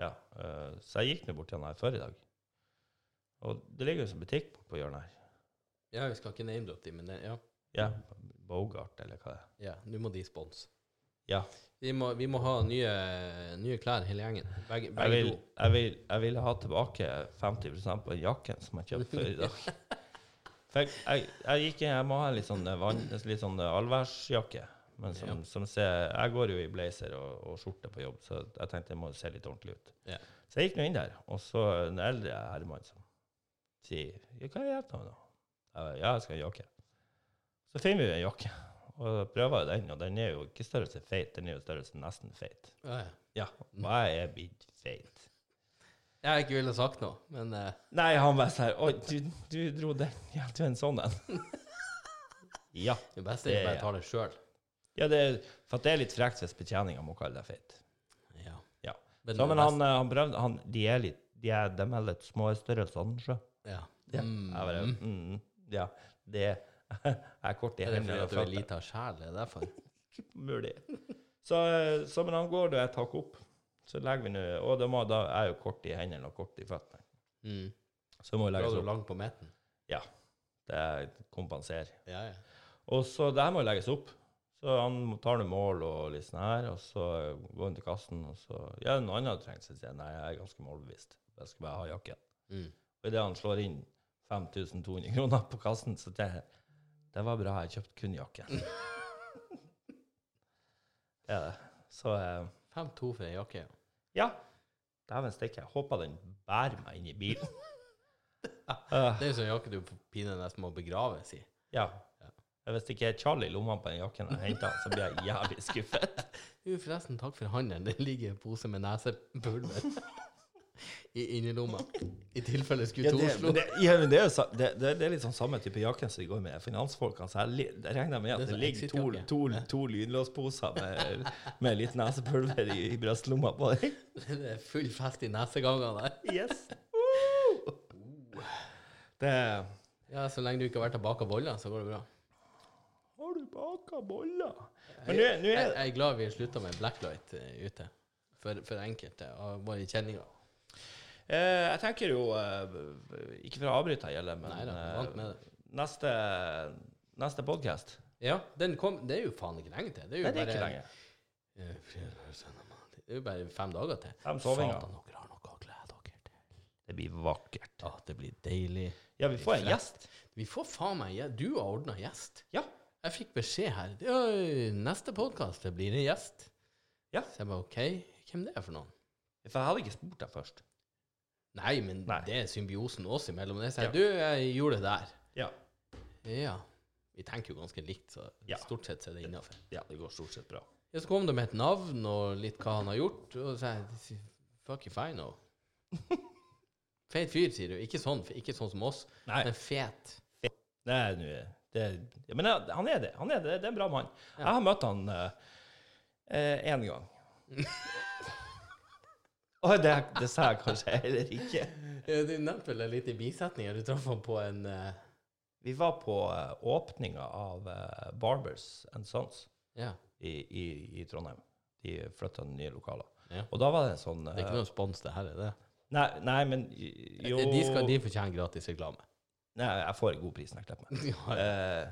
Speaker 1: Ja, eh, så jeg gikk nå borti den her før i dag. Og det ligger jo en butikk borte på hjørnet her.
Speaker 2: Ja, vi skal ikke name-droppe de, men det, ja.
Speaker 1: Ja, Bogart, eller hva det er.
Speaker 2: ja. Nå må de sponse.
Speaker 1: Ja.
Speaker 2: Vi må, vi må ha nye, nye klær, hele gjengen. Begge,
Speaker 1: Jeg
Speaker 2: begge
Speaker 1: vil,
Speaker 2: to.
Speaker 1: jeg, vil, jeg vil ha tilbake 50 på den jakken som jeg kjøpte før i dag. For jeg, jeg, jeg, gikk, inn- jeg må ha en litt sånn, eh, vann, litt sånn eh, allværsjakke. Men som,
Speaker 2: Ja.
Speaker 1: som ser, jeg går jo i blazer og, og skjorte på jobb, så jeg tenkte jeg må se litt ordentlig ut.
Speaker 2: Ja.
Speaker 1: Så jeg gikk nå inn der, og så en eldre herremann som sier «Ja, 'Hva kan jeg hjelpe deg med?' nå?» Jeg, Ja, jeg skal ha en jakke. Så finner vi jo en jakke, og prøver jo den, og den er jo ikke størrelse feit, den er jo størrelse nesten feit.
Speaker 2: Ja, ja.
Speaker 1: Ja, og jeg er blitt feit.
Speaker 2: jeg ikke ville sagt noe, men eh,
Speaker 1: Nei, han var sånn her Oi, du, du dro den. Ja, du er en sånn en. ja.
Speaker 2: det beste er
Speaker 1: Det-
Speaker 2: å bare ta det sjøl.
Speaker 1: ja det, er- for at det er litt frekt hvis betjeninga må kalle deg feit.
Speaker 2: Ja.
Speaker 1: Ja.
Speaker 2: Men
Speaker 1: Så, men
Speaker 2: det beste-
Speaker 1: han, eh, han prøvde han, De er litt De er, de er litt små i størrelsene, sjø.
Speaker 2: ja.
Speaker 1: Ja.
Speaker 2: Mm.
Speaker 1: Jeg bare, mm, ja. Det jeg er kort i
Speaker 2: Er det fordi
Speaker 1: hendene.
Speaker 2: at du er lite av sjel? Er det derfor?
Speaker 1: Ikke mulig. Så, eh, så men han går da et hakk opp. Så legger vi nå Og da må da er jeg jo kort i hendene og kort i føttene.
Speaker 2: Mm.
Speaker 1: Så må vi
Speaker 2: Da er
Speaker 1: legges
Speaker 2: du
Speaker 1: opp.
Speaker 2: langt på midten.
Speaker 1: Ja. Det kompenserer.
Speaker 2: Ja, ja.
Speaker 1: Og så det her må jo legges opp. Så han tar nå mål og litt sånn her, og så går han til kassen, og så Ja, noen andre hadde trengt seg, sier jeg. Nei, jeg er ganske målbevisst. Jeg skal bare ha jakken.
Speaker 2: Mm.
Speaker 1: Og idet han slår inn 5200 kroner på kassen, så tenker jeg det var bra, jeg kjøpte kun jakken. ja, så eh,
Speaker 2: 5-2 for ei jakke.
Speaker 1: Ja. Dæven stikke. Jeg håper den bærer meg inn i bilen. Eh,
Speaker 2: Det er jo sånn jakke du pinlig nesten må begraves i.
Speaker 1: ja. Hvis det ikke er Charlie i lomma på den jakken jeg henta, så blir jeg jævlig skuffet.
Speaker 2: Du, forresten, takk for handelen. Det ligger en pose med nesepulver i innerlomma. I tilfelle jeg skulle
Speaker 1: Ja,
Speaker 2: til
Speaker 1: det,
Speaker 2: Oslo.
Speaker 1: men det, ja, men det, er jo sa- det, det, det er litt sånn samme type jakke som de går med finansfolkene. Så jeg li- jeg regner med at
Speaker 2: Det er
Speaker 1: det,
Speaker 2: sånn
Speaker 1: ligger to,
Speaker 2: exit-jakke.
Speaker 1: to, to lynlåsposer med, med litt nesepulver i, i brystlomma på deg.
Speaker 2: Det er full fest i nesegangene der.
Speaker 1: Yes. Det
Speaker 2: Ja, Så lenge du ikke har vært og baka boller, så går det bra.
Speaker 1: Har du baka boller? Men nå er- nå
Speaker 2: Jeg,
Speaker 1: er
Speaker 2: jeg er glad vi slutta med blacklight eh, ute, for, for enkelte av våre kjenninger.
Speaker 1: eh, Jeg tenker jo eh, Ikke for å avbryte her, Gjelle, men
Speaker 2: Nei da,
Speaker 1: eh,
Speaker 2: vant med det.
Speaker 1: neste, neste podkast
Speaker 2: Ja, den kom Det er jo faen ikke lenge til. Det er jo
Speaker 1: Nei, det er ikke
Speaker 2: bare
Speaker 1: lenge.
Speaker 2: Eh, fredag, søndag, mandag. Det er jo bare fem dager til.
Speaker 1: Fem sovinger.
Speaker 2: Satan, dere har noe å glede dere til.
Speaker 1: Det blir vakkert.
Speaker 2: Ja, det blir deilig.
Speaker 1: Ja, vi får en gjest.
Speaker 2: Vi får faen meg gje- Du har ordna gjest.
Speaker 1: Ja.
Speaker 2: Jeg fikk beskjed her. «Øy, Neste podkast, det blir en gjest.
Speaker 1: Ja.
Speaker 2: Så jeg bare OK, hvem det er for noen?
Speaker 1: For jeg hadde ikke spurt deg først.
Speaker 2: Nei, men
Speaker 1: Nei.
Speaker 2: det er symbiosen oss imellom. Jeg sier
Speaker 1: Ja.
Speaker 2: du, jeg gjorde det der.
Speaker 1: Ja.
Speaker 2: Ja. Vi tenker jo ganske likt, så
Speaker 1: Ja.
Speaker 2: stort sett så er det innafor.
Speaker 1: Ja, det går stort sett bra.
Speaker 2: Ja, så kom det med et navn og litt hva han har gjort, og så sier jeg Fuck if I know. Feit fyr, sier du. Ikke sånn, ikke sånn som oss,
Speaker 1: Nei.
Speaker 2: men fet.
Speaker 1: Nei, nå er det, ja, men jeg- han er det. Han er det. Det er en bra mann.
Speaker 2: Ja.
Speaker 1: Jeg har møtt han én gang. Og det, det sa jeg kanskje heller ikke.
Speaker 2: Ja, Du nevnte vel en liten bisetning. Du traff han på en eh,
Speaker 1: Vi var på eh, åpninga av eh, Barbers and Sons
Speaker 2: Ja.
Speaker 1: i, i, i Trondheim. De flytta nye lokaler.
Speaker 2: Ja.
Speaker 1: Og da var det en sånn
Speaker 2: Det er
Speaker 1: eh,
Speaker 2: ikke noe spons, det her, er det? Eh,
Speaker 1: nei, nei, men jo
Speaker 2: De, skal, de fortjener gratis reklame.
Speaker 1: Nei, jeg får en god pris når jeg klipper meg.
Speaker 2: Jeg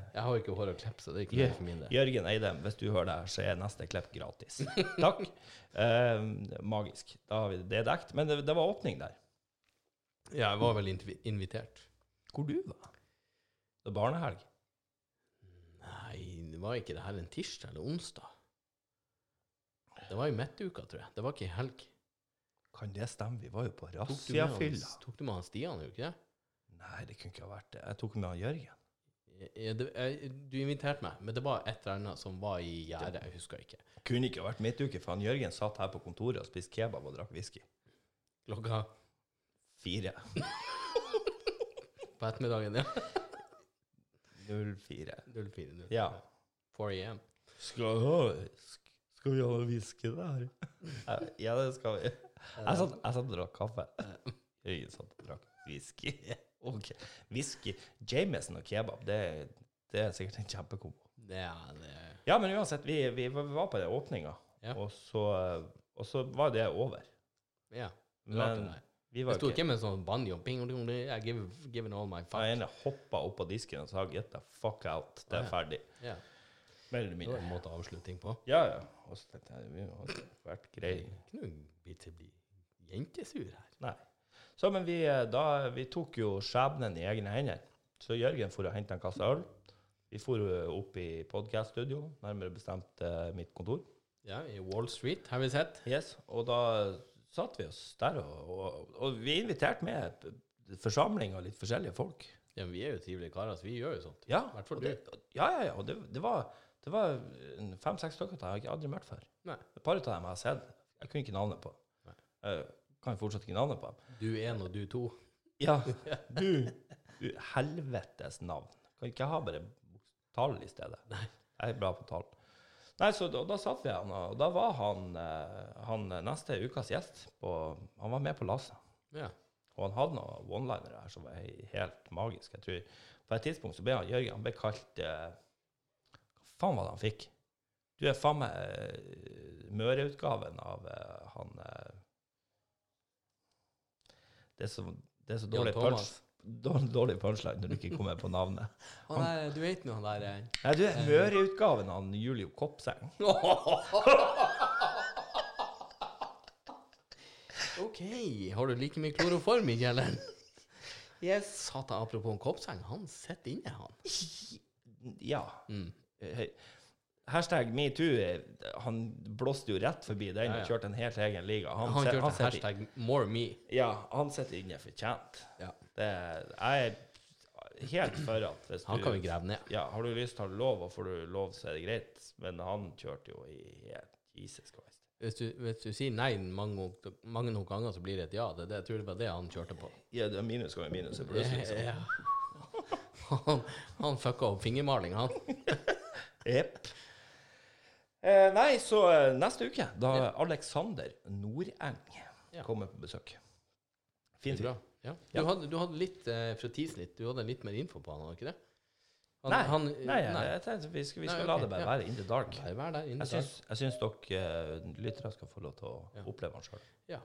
Speaker 1: Eh,
Speaker 2: har jo ikke hår å klippe, så det er ikke
Speaker 1: Ja.
Speaker 2: noe for min del.
Speaker 1: Jørgen Eidem, hvis du hører det her, så er neste klipp gratis. Takk. Eh, magisk. Da har vi det dekt. Men det, det var åpning der.
Speaker 2: Ja, jeg var vel invi- invitert.
Speaker 1: Hvor du var? Det var barnehelg.
Speaker 2: Nei, det var ikke det her en tirsdag eller onsdag? Det var i midtuka, tror jeg. Det var ikke i helg.
Speaker 1: Kan det stemme? Vi var jo på
Speaker 2: Tok du, med han,
Speaker 1: Rassiafylla.
Speaker 2: tok du med han Stian, gjorde du ikke det?
Speaker 1: Nei, det kunne ikke ha vært det. Jeg tok med han Jørgen.
Speaker 2: Ja, Eh, det, jeg, du inviterte meg, men det var et eller annet som var i gjerdet. Jeg husker ikke.
Speaker 1: Kunne ikke ha vært midtuke, for han Jørgen satt her på kontoret og spiste kebab og drakk whisky.
Speaker 2: Klokka
Speaker 1: Fire.
Speaker 2: på ettermiddagen, ja.
Speaker 1: 04.
Speaker 2: 04.00.
Speaker 1: Ja.
Speaker 2: 4 am.
Speaker 1: Skal, vi ha whisky der? Ja, det skal vi. Jeg
Speaker 2: Altså-
Speaker 1: satt, jeg satt og drakk kaffe. Jørgen satt og drakk whisky. Ok. Whisky, Jameson og kebab, det, det er sikkert en kjempekombo.
Speaker 2: Ja, det
Speaker 1: Ja, men uansett, vi, vi, var- vi var på den åpninga,
Speaker 2: Ja.
Speaker 1: og, så, og så var det over.
Speaker 2: Ja. Rart det
Speaker 1: Men
Speaker 2: der.
Speaker 1: vi
Speaker 2: Det
Speaker 1: var
Speaker 2: sto
Speaker 1: jo
Speaker 2: ikke
Speaker 1: ikke
Speaker 2: med sånn banjo ping, dong, dong, I give, giving all my fuck.
Speaker 1: Den ene hoppa opp på disken og sa 'get the fuck out', det
Speaker 2: Å,
Speaker 1: er
Speaker 2: ja.
Speaker 1: ferdig.
Speaker 2: Ja.
Speaker 1: Mer eller
Speaker 2: Det var
Speaker 1: mindre.
Speaker 2: en måte å avslutte ting på.
Speaker 1: Ja, ja. Og så tenkte jeg vi har vært greie.
Speaker 2: Ikke noe bit til å bli jentesur her.
Speaker 1: Nei. Så, men vi, eh, da, vi tok jo skjebnen i egne hender. Så Jørgen for å hente en kasse øl. Vi for eh, opp i podcaststudio, nærmere bestemt eh, mitt kontor.
Speaker 2: Ja, i Wall Street har vi sett.
Speaker 1: Yes, Og da satt vi oss der, og, og, og vi inviterte med p- forsamling av litt forskjellige folk.
Speaker 2: Ja, men vi er jo trivelige karer, så vi gjør jo sånt.
Speaker 1: Ja,
Speaker 2: I hvert
Speaker 1: og
Speaker 2: fall
Speaker 1: det,
Speaker 2: du.
Speaker 1: ja, ja, ja, og det, det var, det var en fem-seks stykker jeg har ikke aldri møtt før.
Speaker 2: Nei.
Speaker 1: Et par av dem jeg har sett, jeg kunne ikke navnet på.
Speaker 2: Nei.
Speaker 1: Eh, kan fortsatt ikke navnet på dem.
Speaker 2: Du én og du to.
Speaker 1: Ja, du, du helvetes navn. Kan ikke jeg ha bare tall i stedet? Nei. Jeg er bra på tall. Nei, så da, da satt vi han, og da var han, eh, han neste ukas gjest på Han var med på lasset.
Speaker 2: Ja.
Speaker 1: Og han hadde noen one-linere her som var he- helt magisk. Jeg tror På et tidspunkt så ble han Jørgen han ble kalt eh, Hva faen var det han fikk? Du er faen meg eh, Møre-utgaven av eh, han eh, det, er så, det er så
Speaker 2: Jan
Speaker 1: dårlig punch,
Speaker 2: Thomas.
Speaker 1: dårlig, dårlig punchline når du ikke kommer på navnet.
Speaker 2: Han der, du vet nå han der eh.
Speaker 1: Nei, du er Møre-utgaven av han Julio Koppseng.
Speaker 2: OK, har du like mye kloroform i kjelleren? Yes. Satan, apropos en koppseng, han sitter inne, han.
Speaker 1: Ja.
Speaker 2: Mm.
Speaker 1: Hei. Hashtag metoo, eh, han blåste jo rett forbi den
Speaker 2: Ja, ja.
Speaker 1: og kjørte en helt egen liga.
Speaker 2: Han,
Speaker 1: se-
Speaker 2: kjørte
Speaker 1: sitter i-
Speaker 2: hashtag more me.
Speaker 1: Ja, han sitter inne fortjent.
Speaker 2: Ja.
Speaker 1: Det, jeg er helt for at hvis
Speaker 2: Han
Speaker 1: du
Speaker 2: kan vi grave ned.
Speaker 1: Ja, har du lyst, har du lov, og får du lov, så er det greit. Men han kjørte jo i helt Jesus Christ.
Speaker 2: Hvis du, hvis du sier nei mange, mange nok ganger, så blir det et ja. Det, er det, jeg tror det var det han kjørte på.
Speaker 1: Ja, det er minus ganger minus. er pluss, liksom.
Speaker 2: Ja. Han, han fucka opp fingermaling, han.
Speaker 1: Jepp. Eh, nei, så eh, neste uke, da Alexander Nordeng
Speaker 2: Ja.
Speaker 1: kommer på besøk.
Speaker 2: Det
Speaker 1: Fin
Speaker 2: er
Speaker 1: fyr.
Speaker 2: bra. Ja. Du,
Speaker 1: Ja.
Speaker 2: hadde, du hadde litt eh, fra Tisnit, du hadde litt mer info på han, hadde du ikke det? Han-
Speaker 1: Nei,
Speaker 2: han-
Speaker 1: nei, jeg- jeg tenkte vi skal, vi
Speaker 2: Nei,
Speaker 1: skal
Speaker 2: ok,
Speaker 1: la det bare
Speaker 2: ja.
Speaker 1: være in the dark.
Speaker 2: Bare vær der inne.
Speaker 1: Jeg
Speaker 2: der.
Speaker 1: syns, jeg syns dere eh, lyttere skal få lov til å
Speaker 2: Ja.
Speaker 1: oppleve han sjøl.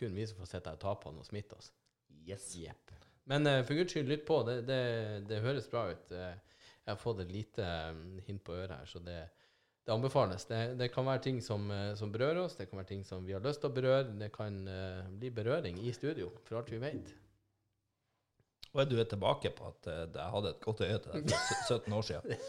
Speaker 2: Kun vi som får sitte her og ta på han og smitte oss.
Speaker 1: Yes.
Speaker 2: Jepp. Men eh, for guds skyld, lytt på. Det, det, det høres bra ut. Eh, jeg har fått et lite eh, hint på øret her, så det, det anbefales. Det, det kan være ting som, eh, som berører oss, det kan være ting som vi har lyst til å berøre. Det kan eh, bli berøring i studio, for alt vi vet.
Speaker 1: Og du er tilbake på at eh, jeg hadde et godt øye til deg for sø- 17 år siden.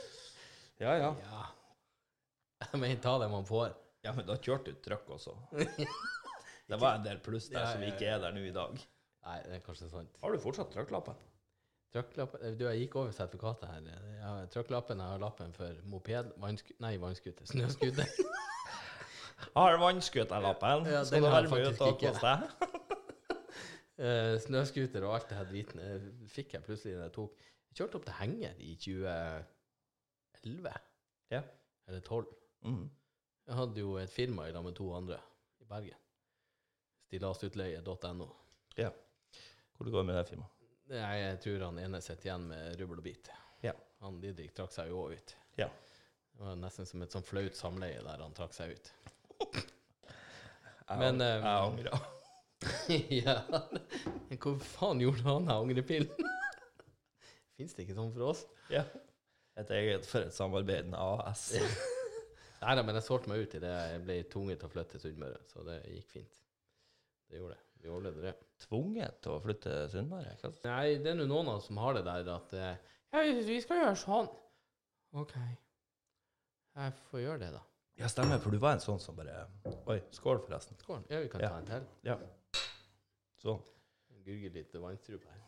Speaker 1: Ja, ja.
Speaker 2: Ja. Men ta det man får.
Speaker 1: Ja, men da kjørte du trøkk også. Det var en del pluss der
Speaker 2: Ja,
Speaker 1: som
Speaker 2: ja, ja.
Speaker 1: ikke er der nå i dag.
Speaker 2: Nei, det er kanskje sant.
Speaker 1: Har du fortsatt trøkklappen?
Speaker 2: Trøkklappen eh, Du, jeg gikk over sertifikatet her. Jeg har trøkklappen, jeg har lappen for moped, vannsku... Nei, vannskuter. Snøskuter.
Speaker 1: Har vannskuterlappen?
Speaker 2: Ja,
Speaker 1: Skal
Speaker 2: den
Speaker 1: du
Speaker 2: har jeg
Speaker 1: være med ut
Speaker 2: faktisk
Speaker 1: og
Speaker 2: ikke.
Speaker 1: kose deg?
Speaker 2: Eh, snøskuter og alt det her driten eh, fikk jeg plutselig da jeg tok Jeg kjørte opp til Henger i 2011.
Speaker 1: Ja.
Speaker 2: Eller 12.
Speaker 1: Mm.
Speaker 2: Jeg hadde jo et firma i lag med to andre i Bergen. Stillasutleie.no.
Speaker 1: Hvor det går med det firmaet?
Speaker 2: Jeg tror han ene sitter igjen med rubbel og bit.
Speaker 1: Ja.
Speaker 2: Han Didrik trakk seg jo òg ut.
Speaker 1: Ja.
Speaker 2: Det var nesten som et sånn flaut samleie der han trakk seg ut.
Speaker 1: Jeg ang-
Speaker 2: Men, eh,
Speaker 1: jeg angrer.
Speaker 2: ja. Hvor faen gjorde han av angrepillen? Fins det ikke sånn for oss?
Speaker 1: Ja. Et eget for et samarbeidende AS.
Speaker 2: Nei da, men jeg solgte meg ut idet jeg ble tvunget til å flytte til Sunnmøre, så det gikk fint. Det gjorde det. Vi overlevde det.
Speaker 1: Tvunget til å flytte Sunnmøre? hva?
Speaker 2: Nei, det er nå noen av oss som har det der at eh, Ja, vi skal gjøre sånn. OK. Jeg får gjøre det, da.
Speaker 1: Ja, stemmer, for du var en sånn som bare Oi, skål, forresten.
Speaker 2: Skål. Ja, vi kan
Speaker 1: Ja.
Speaker 2: ta en til.
Speaker 1: Ja. Sånn.
Speaker 2: Gurgle litt vannstrupe her.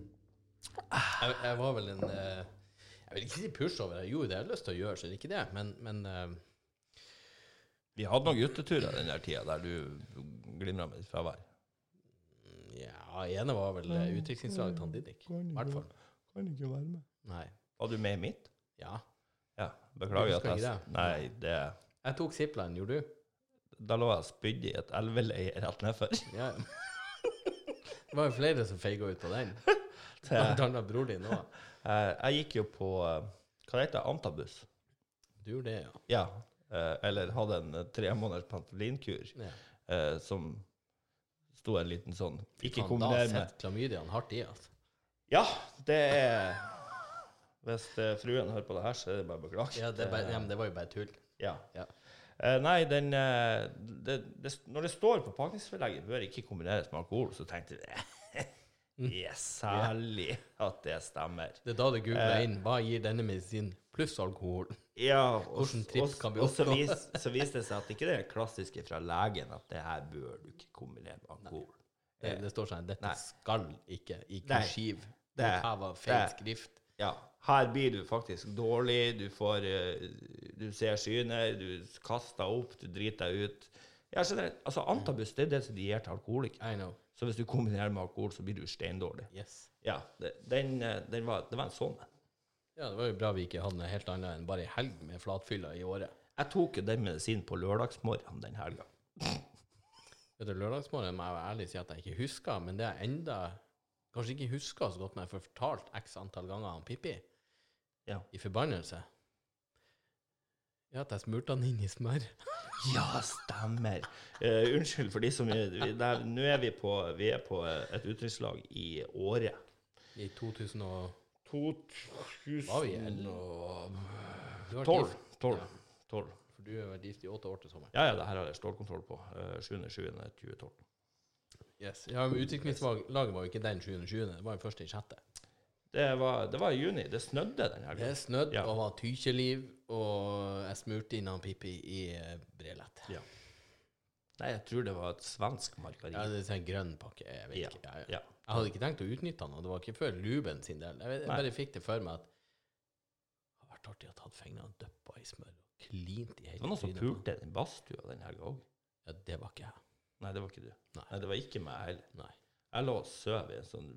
Speaker 2: Jeg, jeg var vel en eh, Jeg vil ikke si pushover. Jeg gjorde det jeg hadde lyst til å gjøre, så det er ikke det, men, men eh,
Speaker 1: Vi hadde noen gutteturer den der tida der du glimra med ditt fravær.
Speaker 2: Ja, ene var vel eh, utviklingslaget til han Didrik. I hvert fall.
Speaker 1: Kan ikke være med.
Speaker 2: Nei.
Speaker 1: Var du med i mitt?
Speaker 2: Ja.
Speaker 1: Ja. Beklager
Speaker 2: Du husker
Speaker 1: at jeg
Speaker 2: ikke det?
Speaker 1: Nei, det
Speaker 2: Jeg tok zipline, gjorde du?
Speaker 1: Da lå jeg og spydde i et elveleie rett nedfor.
Speaker 2: Ja. Det var jo flere som feiga ut på den. Blant
Speaker 1: Jeg,
Speaker 2: annet bror din òg.
Speaker 1: jeg gikk jo på eh, Hva det heter det? Antabus?
Speaker 2: Du gjorde det, ja.
Speaker 1: Ja. eh, Eller hadde en eh, tre måneders pantolinkur
Speaker 2: ja.
Speaker 1: eh, som sto en liten sånn Ikke
Speaker 2: Faen,
Speaker 1: kombiner
Speaker 2: Da
Speaker 1: med
Speaker 2: setter klamydiaen hardt i, altså.
Speaker 1: Ja, det er Hvis eh, fruen hører på det her, så er det bare å beklage. Eh,
Speaker 2: Ja, det, er bare, ja, men det var jo bare tull.
Speaker 1: Ja.
Speaker 2: Ja.
Speaker 1: Eh, nei, den eh, det, det, Når det står på pakningsforlegget bør ikke kombineres med alkohol, så tenkte jeg det er særlig at det stemmer.
Speaker 2: Det er da det googla
Speaker 1: Eh.
Speaker 2: inn hva gir denne medisinen pluss alkohol.
Speaker 1: Ja, og,
Speaker 2: Hvordan trips
Speaker 1: og-
Speaker 2: kan bli
Speaker 1: og så,
Speaker 2: oppnådd?
Speaker 1: vis, så viste det seg at ikke det er klassiske fra legen at det her bør du ikke kombinere med alkohol.
Speaker 2: Det, det står sånn Dette
Speaker 1: Eh. Nei.
Speaker 2: skal ikke i
Speaker 1: Nei.
Speaker 2: kursiv.
Speaker 1: Det-
Speaker 2: Det var feil
Speaker 1: det-
Speaker 2: skrift.
Speaker 1: Ja, Her blir du faktisk dårlig, du får eh, Du ser syner, du kaster opp, du driter deg ut. Ja, generelt, altså Antabus det er det som de gir til alkoholikere.
Speaker 2: I know.
Speaker 1: Så hvis du kombinerer med alkohol, så blir du steindårlig.
Speaker 2: Yes.
Speaker 1: Ja, det, den, eh, den var, det var en sånn en.
Speaker 2: Ja, det var jo bra vi ikke hadde noe helt annet enn bare ei helg med flatfylla i året.
Speaker 1: Jeg tok jo den medisinen på lørdagsmorgenen den helga.
Speaker 2: Vet du, Lørdagsmorgen må jeg være ærlig og si at jeg ikke husker, men det jeg enda kanskje ikke husker så godt når jeg får fortalt x antall ganger han Pippi
Speaker 1: Ja.
Speaker 2: i forbannelse, er at jeg smurte han inn i smør.
Speaker 1: Ja, stemmer. Eh, unnskyld for de som vi- vi- der- Nå er vi på, vi er på eh, et utenrikslag i Åre.
Speaker 2: I 2000 og...
Speaker 1: 2012.
Speaker 2: Var vi i elleve? Du har vært gift, Ja.
Speaker 1: 12.
Speaker 2: for du har vært gift i åtte år til sommeren.
Speaker 1: Ja, ja, det her har jeg stålkontroll på. Eh, 7.7.2012.
Speaker 2: Yes. Ja, men utviklingslaget var jo ikke den 20. 20. Det var jo først i sjette.
Speaker 1: Det var, det var i juni. Det snødde den helga.
Speaker 2: Det snødde
Speaker 1: Ja.
Speaker 2: og var tykeliv, og jeg smurte inn han Pippi i eh, brelett.
Speaker 1: Ja. Nei, jeg tror det var et svensk margarin.
Speaker 2: Ja, det er en sånn grønn pakke, jeg vet
Speaker 1: Ja.
Speaker 2: ikke. Ja, ja.
Speaker 1: Ja.
Speaker 2: Jeg hadde ikke tenkt å utnytte han, og det var ikke før Luben sin del. Jeg, vet, jeg
Speaker 1: Nei.
Speaker 2: bare fikk det for meg at det hadde vært artig å ta fingrene og dyppa i smør og klint i hele
Speaker 1: Det var noen som
Speaker 2: trynet på han.
Speaker 1: pulte den badstua den helga òg.
Speaker 2: Ja, det var ikke jeg.
Speaker 1: Nei, det var ikke du.
Speaker 2: Nei.
Speaker 1: Nei, det var ikke meg heller.
Speaker 2: Nei.
Speaker 1: Jeg lå og sov i en sånn,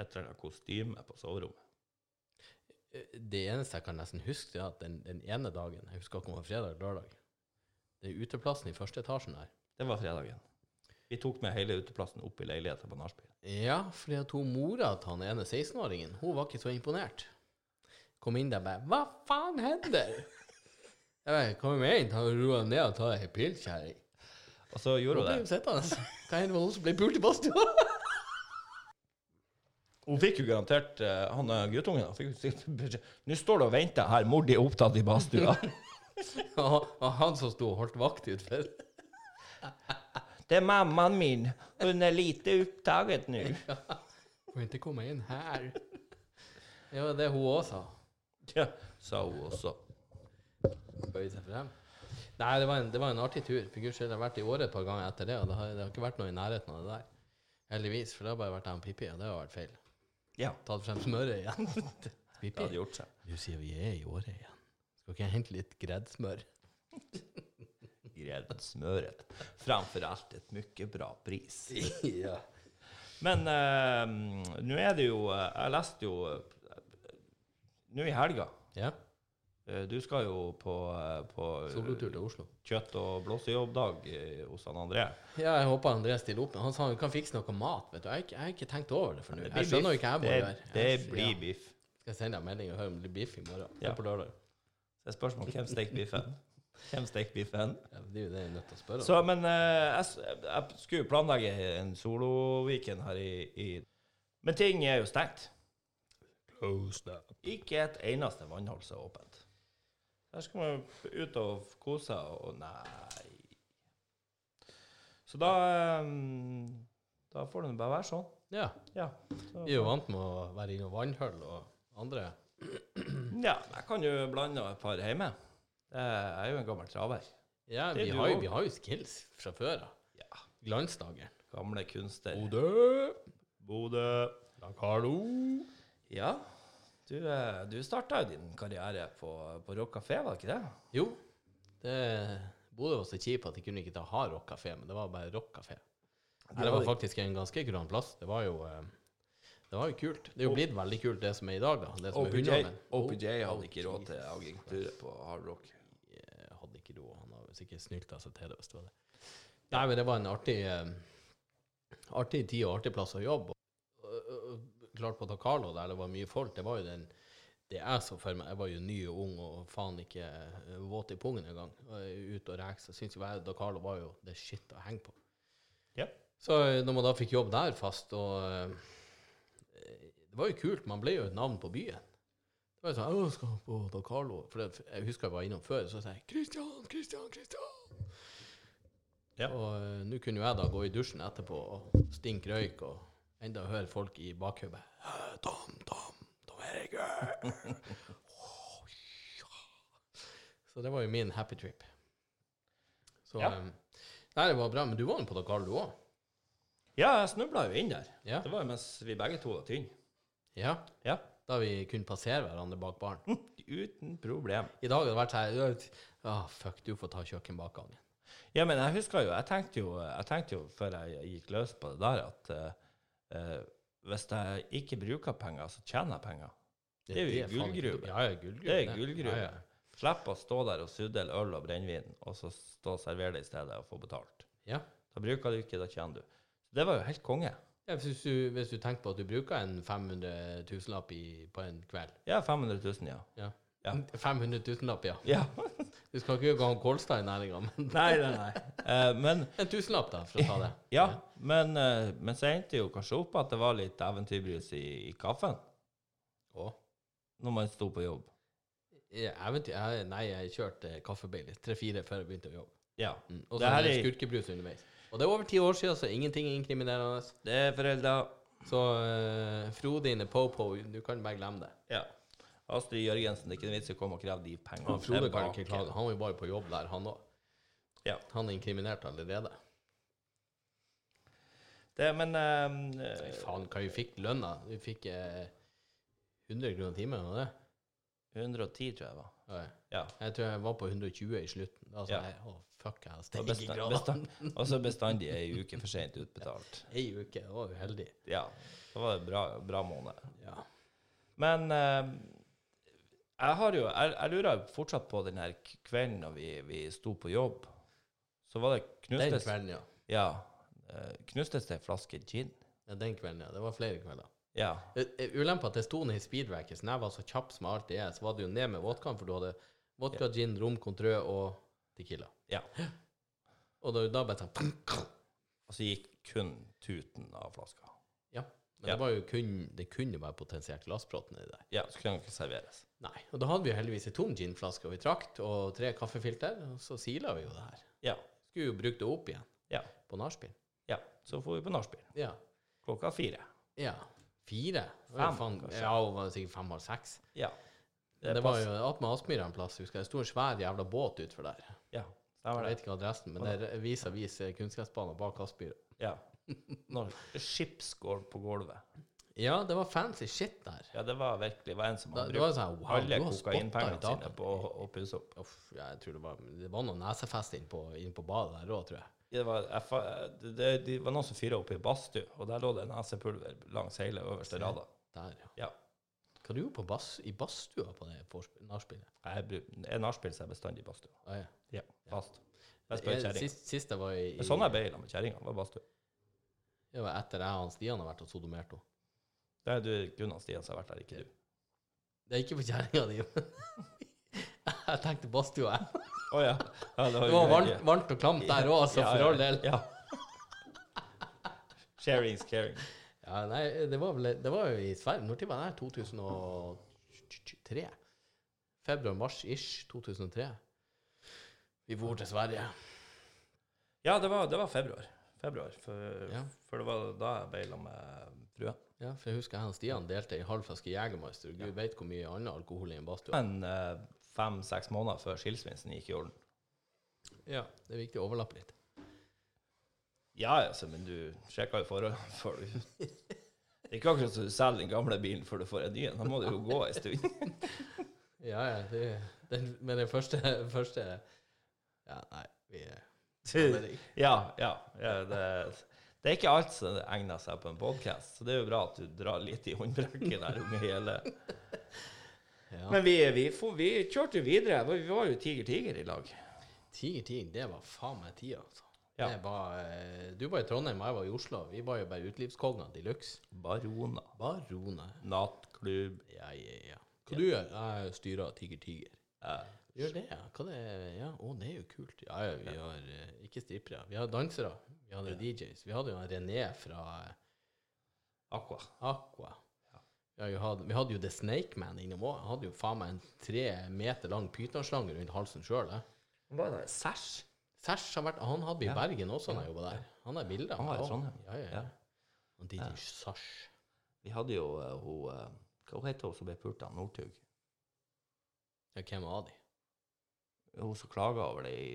Speaker 1: et eller annet kostyme på soverommet.
Speaker 2: Eh, Det eneste jeg kan nesten huske, det er at den, den ene dagen, jeg husker ikke om det var fredag eller lørdag, den uteplassen i første etasjen der,
Speaker 1: Det var fredagen. Vi tok med hele uteplassen opp i leiligheten på nachspiel.
Speaker 2: Ja, fordi at hun mora til han ene 16-åringen, hun var ikke så imponert. Kom inn der og bare 'Hva faen hender?' Jeg bare 'Hva mener du? Ta og Ro deg ned og ta ei pils, kjerring'.
Speaker 1: Og så
Speaker 2: Hun
Speaker 1: gjorde
Speaker 2: ble
Speaker 1: hun
Speaker 2: jo
Speaker 1: det.
Speaker 2: sittende. Hva hender med hun som ble pult i badstua?
Speaker 1: Hun fikk jo garantert eh, Han eh, guttungen han fikk jo sikkert beskjed Nå står du og venter her, mor di er opptatt i badstua.
Speaker 2: Og og han som sto og holdt vakt utfor.
Speaker 1: det er mammaen min. Hun er lite opptatt nå.
Speaker 2: Får ikke komme inn her. Det var det hun òg sa.
Speaker 1: Ja, sa hun også.
Speaker 2: Bøyde seg frem. Nei, det var en, det var en artig tur. For guds skyld, jeg har vært i året et par ganger etter det, og det har, det har ikke vært noe i nærheten av det der. Heldigvis, for det har bare vært han Pippi, og det har vært feil.
Speaker 1: Ja,
Speaker 2: tatt frem smøret igjen.
Speaker 1: det hadde gjort seg.
Speaker 2: Nå sier vi er i året igjen. Skal ikke jeg hente litt greddsmør?
Speaker 1: Greden smøret. Framfor alt et mye bra pris.
Speaker 2: ja.
Speaker 1: Men eh, nå er det jo eh, Jeg leste jo eh, Nå i helga
Speaker 2: ja.
Speaker 1: eh, Du skal jo på, eh, på
Speaker 2: Solotur til Oslo.
Speaker 1: kjøtt- og blåsejobbdag eh, hos han André.
Speaker 2: Ja, jeg håper André stiller opp. Men han sa han kan fikse noe mat. vet du. Jeg har ikke, jeg har ikke tenkt over det for nå. Jeg skjønner jo hva jeg må
Speaker 1: det,
Speaker 2: gjøre.
Speaker 1: Det
Speaker 2: Jeg-
Speaker 1: blir
Speaker 2: ja.
Speaker 1: biff.
Speaker 2: Skal jeg sende deg en melding og høre om det blir biff i morgen?
Speaker 1: Ja.
Speaker 2: Ja. På lørdag.
Speaker 1: Det er spørsmål hvem steker biffen. Hvem steker biffen?
Speaker 2: Ja, det er jo det jeg er nødt til å spørre om.
Speaker 1: Så, men eh, jeg, s- jeg skulle jo planlegge en soloweekend her i, i Men ting er jo stengt. Ikke et eneste vannhold som er åpent. Der skal man jo ut og kose seg, og nei Så da eh, Da får det bare være sånn.
Speaker 2: Ja.
Speaker 1: Ja.
Speaker 2: Vi er jo vant med å være innom vannhull og andre.
Speaker 1: ja. Jeg kan jo blande et par hjemme. Eh, Jeg er jo en gammel traver.
Speaker 2: Ja,
Speaker 1: Det
Speaker 2: vi
Speaker 1: er du
Speaker 2: har, jo,
Speaker 1: også.
Speaker 2: vi har jo skills fra før av.
Speaker 1: Ja.
Speaker 2: Glansdagen.
Speaker 1: Gamle kunstner.
Speaker 2: Bodø!
Speaker 1: Bodø.
Speaker 2: Da, Carlo!
Speaker 1: Ja, du, eh, du starta jo din karriere på, på Rock Café, var det ikke det?
Speaker 2: Jo, det Bodø var så kjip at de kunne ikke ta hard rockkafé, men det var bare rockkafé. Nei, Det var faktisk en ganske kul plass. Det var jo eh, det var jo kult. Det er jo blitt veldig kult, det som er i dag, da. Det som er
Speaker 1: OPJ,
Speaker 2: Hundeholmen.
Speaker 1: OPJ hadde
Speaker 2: Oh,
Speaker 1: ikke råd til
Speaker 2: Jesus
Speaker 1: agenturet på Hard Rock.
Speaker 2: Jeg eh, hadde ikke råd. Han har sikkert snylta seg til det, hvis det var det. Nei, men det var en artig, eh, artig tid og artig plass å jobbe. Og, og, og, klart på Don Carlo, der det var mye folk, det var jo den det jeg så for meg, jeg var jo ny og ung og faen ikke eh, våt i pungen engang. Og Ute og reke. Så syns jo jeg Da Carlo var jo det shit å henge på.
Speaker 1: Ja.
Speaker 2: Så eh, når man da fikk jobb der fast, og eh, Det var jo kult. Man ble jo et navn på byen. Det var jo sånn, jeg skal på Da Carlo. For det, jeg husker jeg var innom før, så sa jeg 'Kristian, Kristian, Kristian'.
Speaker 1: Ja.
Speaker 2: Og eh, nå kunne jo jeg da gå i dusjen etterpå og stinke røyk og enda høre folk i bakhodet «Eh, Tom, Tom, Tom Erik. eh!» Åh, ja. Så det var jo min happy trip. Så
Speaker 1: Ja.
Speaker 2: eh, Nei, det var bra. Men du var jo på Da Carlo, du òg?
Speaker 1: Ja, jeg snubla jo inn der.
Speaker 2: Ja.
Speaker 1: Det var jo mens vi begge to var tynne.
Speaker 2: ja.
Speaker 1: Ja.
Speaker 2: Da vi kunne passere hverandre bak baren.
Speaker 1: Uten problem.
Speaker 2: I dag hadde det vært sånn her «Åh, Fuck, du får ta kjøkkenbakgangen.
Speaker 1: Ja, men jeg husker jo Jeg tenkte jo, jeg tenkte jo før jeg gikk løs på det der, at eh, eh, hvis jeg ikke bruker penger, så tjener jeg penger. Det er jo
Speaker 2: faen ikke
Speaker 1: gullgruve.
Speaker 2: dumt. Ja, ja, gullgruve.
Speaker 1: Det er gullgruve.
Speaker 2: Ja, ja.
Speaker 1: Slipp å stå der og sudle øl og brennevin, og så stå og servere det i stedet og få betalt.
Speaker 2: Ja.
Speaker 1: Da bruker du ikke, da tjener du. Det var jo helt konge.
Speaker 2: Ja, hvis, du, hvis du tenker på at du bruker en 500 000-lapp i- på en kveld
Speaker 1: Ja, 500 000, ja.
Speaker 2: ja.
Speaker 1: Ja.
Speaker 2: 500 000-lapp, ja.
Speaker 1: Ja.
Speaker 2: Du skal ikke gå han Kolstad i næringa, men
Speaker 1: Nei, nei, nei. Eh, men
Speaker 2: en tusenlapp, da, for å ta det.
Speaker 1: ja, men, eh, men så endte det jo kanskje opp at det var litt eventyrbrus i, i kaffen
Speaker 2: Å.
Speaker 1: når man sto på jobb.
Speaker 2: Ja, Eventyr jeg, Nei, jeg kjørte kaffebaileys tre-fire før jeg begynte å jobbe.
Speaker 1: Ja.
Speaker 2: Mm. Og
Speaker 1: Det
Speaker 2: så
Speaker 1: her
Speaker 2: er det
Speaker 1: er-
Speaker 2: skurkebrus underveis. Og det er over ti år siden, så ingenting er inkriminerende.
Speaker 1: Det er foreldre.
Speaker 2: Så uh, Frodine Po-Po, du kan bare glemme det.
Speaker 1: Ja. Astrid Jørgensen, det er ikke noe vits i å komme og kreve de pengene.
Speaker 2: Og Frode kan
Speaker 1: tilbake.
Speaker 2: ikke klage. Han var jo bare på jobb der, han òg.
Speaker 1: Ja.
Speaker 2: Han er inkriminert allerede.
Speaker 1: Det, men eh,
Speaker 2: Nei,
Speaker 1: eh,
Speaker 2: faen, hva vi fikk lønna? Vi fikk eh, 100 kroner timen, var det?
Speaker 1: 110 tror jeg det var.
Speaker 2: Ja, ja.
Speaker 1: Ja.
Speaker 2: Jeg tror jeg var på 120 i slutten. Da sa
Speaker 1: Ja.
Speaker 2: jeg å, fuck, jeg har
Speaker 1: Og
Speaker 2: steget i
Speaker 1: bestand-
Speaker 2: gradene.
Speaker 1: bestand- Og så bestandig ei uke for sent utbetalt.
Speaker 2: Ei uke, jeg var uheldig.
Speaker 1: Ja. Det var en bra, bra måned.
Speaker 2: Ja.
Speaker 1: Men eh, jeg har jo Jeg, jeg lurer fortsatt på den her k- kvelden når vi, vi sto på jobb. Så var det
Speaker 2: Den
Speaker 1: knustes
Speaker 2: kvelden, ja.
Speaker 1: Ja. eh, knustes det en flaske gin?
Speaker 2: ja. Den kvelden, ja. Det var flere kvelder.
Speaker 1: Ja.
Speaker 2: Eh, eh, Ulempa at det sto ned i speedracket, så når jeg var så kjapp som jeg alltid er, så var det jo ned med vodkaen, for du hadde vodka, gin, rom, kontrø og tequila.
Speaker 1: Ja.
Speaker 2: Og da, da bare sånn
Speaker 1: Og så gikk kun tuten av flaska.
Speaker 2: Ja. Men
Speaker 1: Ja.
Speaker 2: det var jo kun Det kunne jo være potensielt glassbrott nedi der.
Speaker 1: Ja, så kunne den ikke serveres.
Speaker 2: Nei. Og da hadde vi jo heldigvis ei tom ginflaske, og vi trakt, og tre kaffefilter, og så sila vi jo det her.
Speaker 1: Ja.
Speaker 2: Skulle jo bruke det opp igjen.
Speaker 1: Ja.
Speaker 2: På nachspiel.
Speaker 1: Ja. Så får vi på nachspiel
Speaker 2: Ja.
Speaker 1: klokka fire.
Speaker 2: ja. Fire? Det var jo
Speaker 1: Fem,
Speaker 2: faen-
Speaker 1: kanskje.
Speaker 2: Ja, det var sikkert fem halv seks.
Speaker 1: Ja.
Speaker 2: Det, var
Speaker 1: pass-
Speaker 2: jo attmed Aspmyra en plass, husker jeg. Det sto en svær jævla båt utfor der.
Speaker 1: Ja. Stemmer
Speaker 2: Jeg
Speaker 1: det.
Speaker 2: vet ikke adressen, men det er vis-à-vis kunstgressbanen bak Aspmyra.
Speaker 1: Ja. Når skipsgulv på gulvet.
Speaker 2: Ja, det var fancy shit der.
Speaker 1: Ja, det var virkelig det var en som
Speaker 2: Da,
Speaker 1: hadde
Speaker 2: det var
Speaker 1: brukt
Speaker 2: sånn, wow,
Speaker 1: alle
Speaker 2: du har spotta i
Speaker 1: kokainpengene
Speaker 2: dag.
Speaker 1: sine på å å pusse opp.
Speaker 2: Uff, ja, jeg tror det var Det var noe nesefest inn på, inn på badet der òg, tror jeg.
Speaker 1: Det var, jeg, fa- det, det, det var noen som fyra opp i badstue, og der lå det nesepulver langs hele øverste rada.
Speaker 2: Der, ja.
Speaker 1: Ja.
Speaker 2: Hva du gjorde på bass, i badstua på det vors- nachspielet?
Speaker 1: Jeg bru- er nachspiel, så er jeg bestandig i badstue.
Speaker 2: Ah, ja.
Speaker 1: Ja, fast. Jeg spør
Speaker 2: Jeg-
Speaker 1: kjerringa.
Speaker 2: Sist, sist jeg var i, i
Speaker 1: Men Sånn jeg ble i lag med kjerringa, var badstue.
Speaker 2: Det var etter jeg og Stian har vært og sodomert henne.
Speaker 1: Det er du, Gunnar Stian, som har vært der, ikke du.
Speaker 2: Det er ikke for kjerringa di, men jeg tenkte badstua. jeg.
Speaker 1: Å ja. ja. var
Speaker 2: Det
Speaker 1: jo
Speaker 2: var
Speaker 1: veldig-
Speaker 2: varmt, varmt og klamt der òg, altså,
Speaker 1: Ja,
Speaker 2: for
Speaker 1: ja,
Speaker 2: all del.
Speaker 1: Ja. Sharing is caring.
Speaker 2: Ja, nei, det var vel Det var jo i Sverige. Når var det her? 2003? Februar-mars-ish 2003. Vi for til Sverige.
Speaker 1: Ja, det var, det var februar. Februar, for,
Speaker 2: Ja.
Speaker 1: for det var da jeg ble i lag med frua.
Speaker 2: Ja, for jeg husker jeg og Stian delte ei halv flaske Jegermeister. Gud vet hvor mye annen alkohol i en badstue.
Speaker 1: Men eh, fem-seks måneder før skilsmissen gikk i orden.
Speaker 2: Ja, det er viktig å overlappe litt.
Speaker 1: Ja, altså, men du sjekker jo forholdene før du Det er ikke akkurat så du selger den gamle bilen før du får en ny en. Da må det jo gå en stund.
Speaker 2: Ja, ja. Det, den, men den første, første Ja, nei, vi er
Speaker 1: Ja, ja. ja det, det er ikke alt som egner seg på en podkast, så det er jo bra at du drar litt i håndbrekket der unge hele.
Speaker 2: Ja.
Speaker 1: Men vi, vi, for, vi kjørte jo videre. Vi var jo Tiger-Tiger i lag.
Speaker 2: Tiger Tiger, det var faen meg tida, altså.
Speaker 1: Ja.
Speaker 2: Det var, eh, du var i Trondheim, og jeg var i Oslo. Vi var jo bare utelivskonger de luxe.
Speaker 1: Barona.
Speaker 2: Baroner.
Speaker 1: Nattklubb.
Speaker 2: Ja, ja, ja. Hva du gjør? Jeg styrer Tiger Tiger.
Speaker 1: Eh,
Speaker 2: Gjør det, ja. Hva det er? Ja, å, det er jo kult. Ja, ja, vi har eh, ikke strippere. Vi har dansere. Vi hadde DJs. Vi hadde jo han René fra eh,
Speaker 1: Aqua.
Speaker 2: Aqua. Vi, har jo hatt- vi hadde jo The Snake Man innom òg. Han hadde jo faen meg en tre meter lang pytonslange rundt halsen sjøl.
Speaker 1: Var det Sæsj?
Speaker 2: Sæsj har vært Han hadde vi i Bergen også, han har jobba der. Han har bilder. av
Speaker 1: Han var i
Speaker 2: meg også.
Speaker 1: Trondheim.
Speaker 2: Ja, ja,
Speaker 1: Ja.
Speaker 2: ja. Og DJ Sæsj.
Speaker 1: Vi hadde jo eh, hun eh, Hva het hun som ble pult av Northug?
Speaker 2: Ja, hvem var de?
Speaker 1: Hun som klaga over det i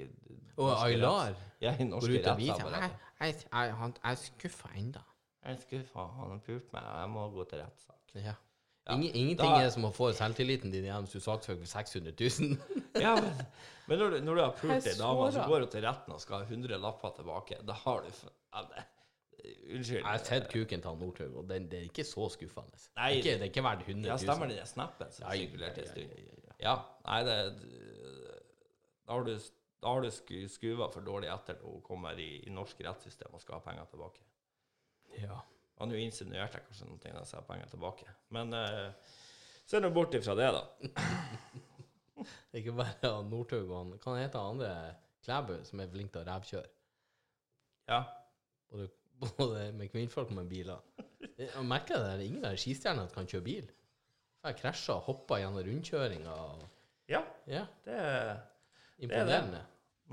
Speaker 1: norske
Speaker 2: Og
Speaker 1: retts-
Speaker 2: Aylar.
Speaker 1: Ja, i
Speaker 2: Går
Speaker 1: norske
Speaker 2: ut av hvite. Jeg,
Speaker 1: rettsapparatet.
Speaker 2: jeg, jeg, jeg er skuffa ennå.
Speaker 1: Jeg er skuffa. Han har pult meg. Jeg må gå til rettssak.
Speaker 2: Ja. Ingen, ingenting
Speaker 1: da-
Speaker 2: er som å få selvtilliten din igjen hvis du saksøker for 600 000.
Speaker 1: Ja, men, men når, du, når du har pult
Speaker 4: Jeg
Speaker 1: ei dame som
Speaker 4: såra.
Speaker 1: går du til retten og skal ha 100 lapper tilbake, da har du f- ja, det- Unnskyld.
Speaker 2: Jeg har sett kuken til han Northug, og den, det er ikke så skuffende.
Speaker 1: Nei,
Speaker 2: det, er ikke, det er ikke verdt 100 000.
Speaker 1: Ja, stemmer den der snappen som
Speaker 2: Ja, ja,
Speaker 1: sirkulerte en
Speaker 2: ja,
Speaker 1: stund? Ja. Nei, det Da har du, da har du sku- skuva for dårlig etter når hun kommer i, i norsk rettssystem og skal ha penger tilbake.
Speaker 2: Ja.
Speaker 1: Han jo insinuerte kanskje noe når jeg sa penger tilbake. Men eh, se nå bort ifra det, da.
Speaker 2: Det er ikke bare han Northug og han Hva heter han andre? Klæbu, som er flink til å rævkjøre.
Speaker 1: Ja.
Speaker 2: Både, både med kvinnfolk og med biler. Jeg merker det, der, ingen av skistjernene kan kjøre bil. Jeg krasja og hoppa gjennom rundkjøringa. og-
Speaker 1: Ja,
Speaker 2: Ja,
Speaker 1: det er det.
Speaker 2: imponerende.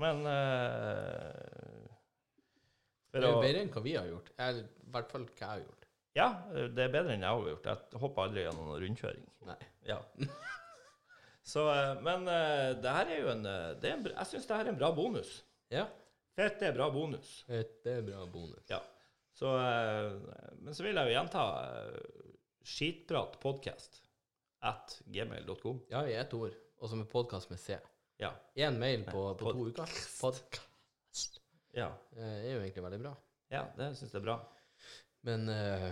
Speaker 1: Men eh, for
Speaker 2: Det er jo
Speaker 1: å-
Speaker 2: bedre enn hva vi har gjort. Eller i hvert fall hva jeg har gjort.
Speaker 1: Ja, det er bedre enn jeg har gjort. Jeg hopper aldri gjennom noen rundkjøring.
Speaker 2: Nei.
Speaker 1: Ja. Så, eh, men eh, det her er jo en, eh, det er en br- Jeg syns det her er en bra bonus.
Speaker 2: Ja,
Speaker 1: Fett er bra bonus.
Speaker 2: det er bra bonus.
Speaker 1: Ja. Så, eh, men så vil jeg jo gjenta eh, skitpratpodkast at gmail.com.
Speaker 2: Ja, i ett ord. Og så med podkast med C.
Speaker 1: Ja.
Speaker 2: Én mail på, på
Speaker 1: pod-
Speaker 2: to uker. Podcast.
Speaker 1: ja.
Speaker 2: Det er jo egentlig veldig bra.
Speaker 1: Ja, det syns jeg er bra.
Speaker 2: Men eh,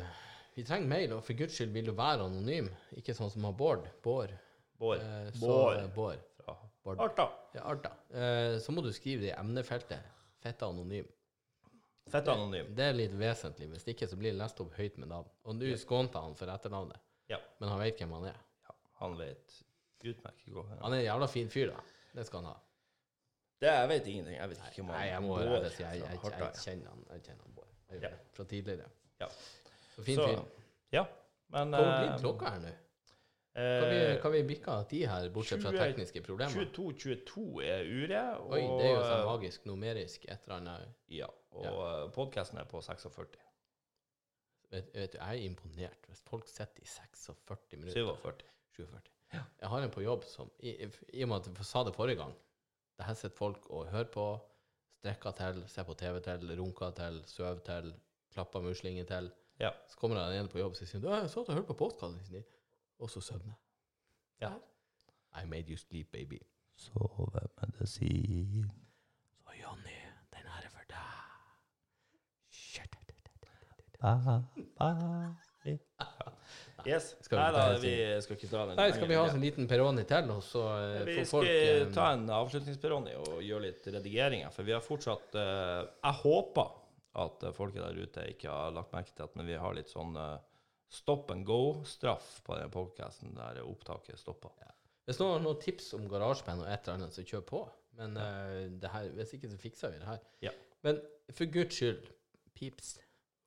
Speaker 2: vi trenger mail, og for guds skyld vil du være anonym. Ikke sånn som han Bård. Bård.
Speaker 1: Bård.
Speaker 2: Eh, så,
Speaker 1: Bård.
Speaker 2: eh, Bård.
Speaker 1: Fra
Speaker 2: Bård.
Speaker 1: Arta.
Speaker 2: Ja, Arta. Eh, så må du skrive det i emnefeltet. Fette anonym.
Speaker 1: Fett anonym.
Speaker 2: Det er litt vesentlig. Hvis ikke så blir det lest opp høyt med navn. Og nå skånte han for etternavnet,
Speaker 1: Ja.
Speaker 2: men han vet hvem han er.
Speaker 1: ja. Han vet utmerket godt.
Speaker 2: Han er en jævla fin fyr, da. Det skal han ha.
Speaker 1: Det, jeg vet ingenting. Jeg vet ikke om
Speaker 2: Nei, jeg må
Speaker 1: Bård
Speaker 2: ærlig si, jeg, jeg,
Speaker 1: fra
Speaker 2: jeg,
Speaker 1: Harta, ja.
Speaker 2: kjenner han. Jeg kjenner han Bård. Jeg gjør
Speaker 1: Ja.
Speaker 2: det. Fra tidligere.
Speaker 1: Ja.
Speaker 2: Så fin
Speaker 1: Så, eh,
Speaker 2: fyr.
Speaker 1: Ja, men
Speaker 2: Hva blir
Speaker 1: eh,
Speaker 2: klokka her nå? Kan vi,
Speaker 1: eh,
Speaker 2: kan vi bikke av ti her, bortsett fra
Speaker 1: 20,
Speaker 2: tekniske problemer?
Speaker 1: 22-22 er uret, og,
Speaker 2: Oi, det er jo sånn
Speaker 1: eh,
Speaker 2: magisk numerisk et eller annet.
Speaker 1: ja, og podkasten er på 46.
Speaker 2: Vet, vet du, jeg er imponert hvis folk sitter i 46 minutter.
Speaker 1: 47.
Speaker 2: 47. Jeg har en på jobb som I, i, i og med at jeg sa det forrige gang Det her sitter folk og hører på, strekker til, ser på TV til, runker til, sover til, klapper muslinger til.
Speaker 1: Ja.
Speaker 2: Så kommer det en på jobb og sier du, «Å, 'Jeg satt og hørte på podkasten din', og så søvner jeg.
Speaker 1: Ja.
Speaker 2: I made you sleep, baby.
Speaker 1: Sovemedisin.
Speaker 2: Så Jonny, den her er for deg. Shit.
Speaker 1: Yes.
Speaker 2: Skal vi
Speaker 1: Nei da,
Speaker 2: ta en
Speaker 1: vi skal ikke dra den
Speaker 2: Nei, skal vi ha
Speaker 1: lenger.
Speaker 2: oss en liten Peroni til, og så eh,
Speaker 1: Vi
Speaker 2: får
Speaker 1: skal
Speaker 2: folk eh,
Speaker 1: ta en avslutningsperoni og gjøre litt redigeringer, for vi har fortsatt eh, Jeg håper at eh, folket der ute ikke har lagt merke til at men vi har litt sånn eh, stop and go-straff på den podkasten der opptaket stopper.
Speaker 2: Hvis noen har noen tips om garasjeband og et eller annet, så kjør på. Men eh, det her, hvis ikke, så fikser vi det her.
Speaker 1: Ja.
Speaker 2: Men for guds skyld, pips,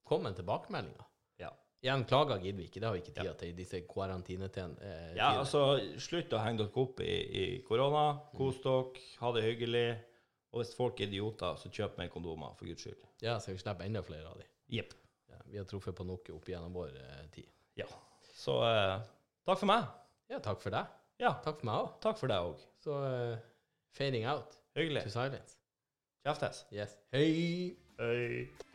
Speaker 2: kom med tilbakemeldinger.
Speaker 1: Ja.
Speaker 2: Igjen, klager gidder vi ikke. Det har vi ikke tid til i disse karantinetidene. Eh,
Speaker 1: Ja,
Speaker 2: tider.
Speaker 1: altså, slutt å henge dere opp i, i korona. Kos dere, ha det hyggelig. Og hvis folk er idioter, så kjøp mer kondomer, for guds skyld.
Speaker 2: ja, så vi slipper enda flere av de.
Speaker 1: Jepp.
Speaker 2: Ja, vi har truffet på noe opp gjennom vår eh, tid.
Speaker 1: Ja. Så eh, takk for meg.
Speaker 2: Ja, takk for deg.
Speaker 1: Ja,
Speaker 2: Takk for meg òg.
Speaker 1: takk for deg òg.
Speaker 2: Så eh, fading out
Speaker 1: Hyggelig.
Speaker 2: to silence.
Speaker 1: Kjeftes.
Speaker 2: Yes. Hei!
Speaker 1: Hei.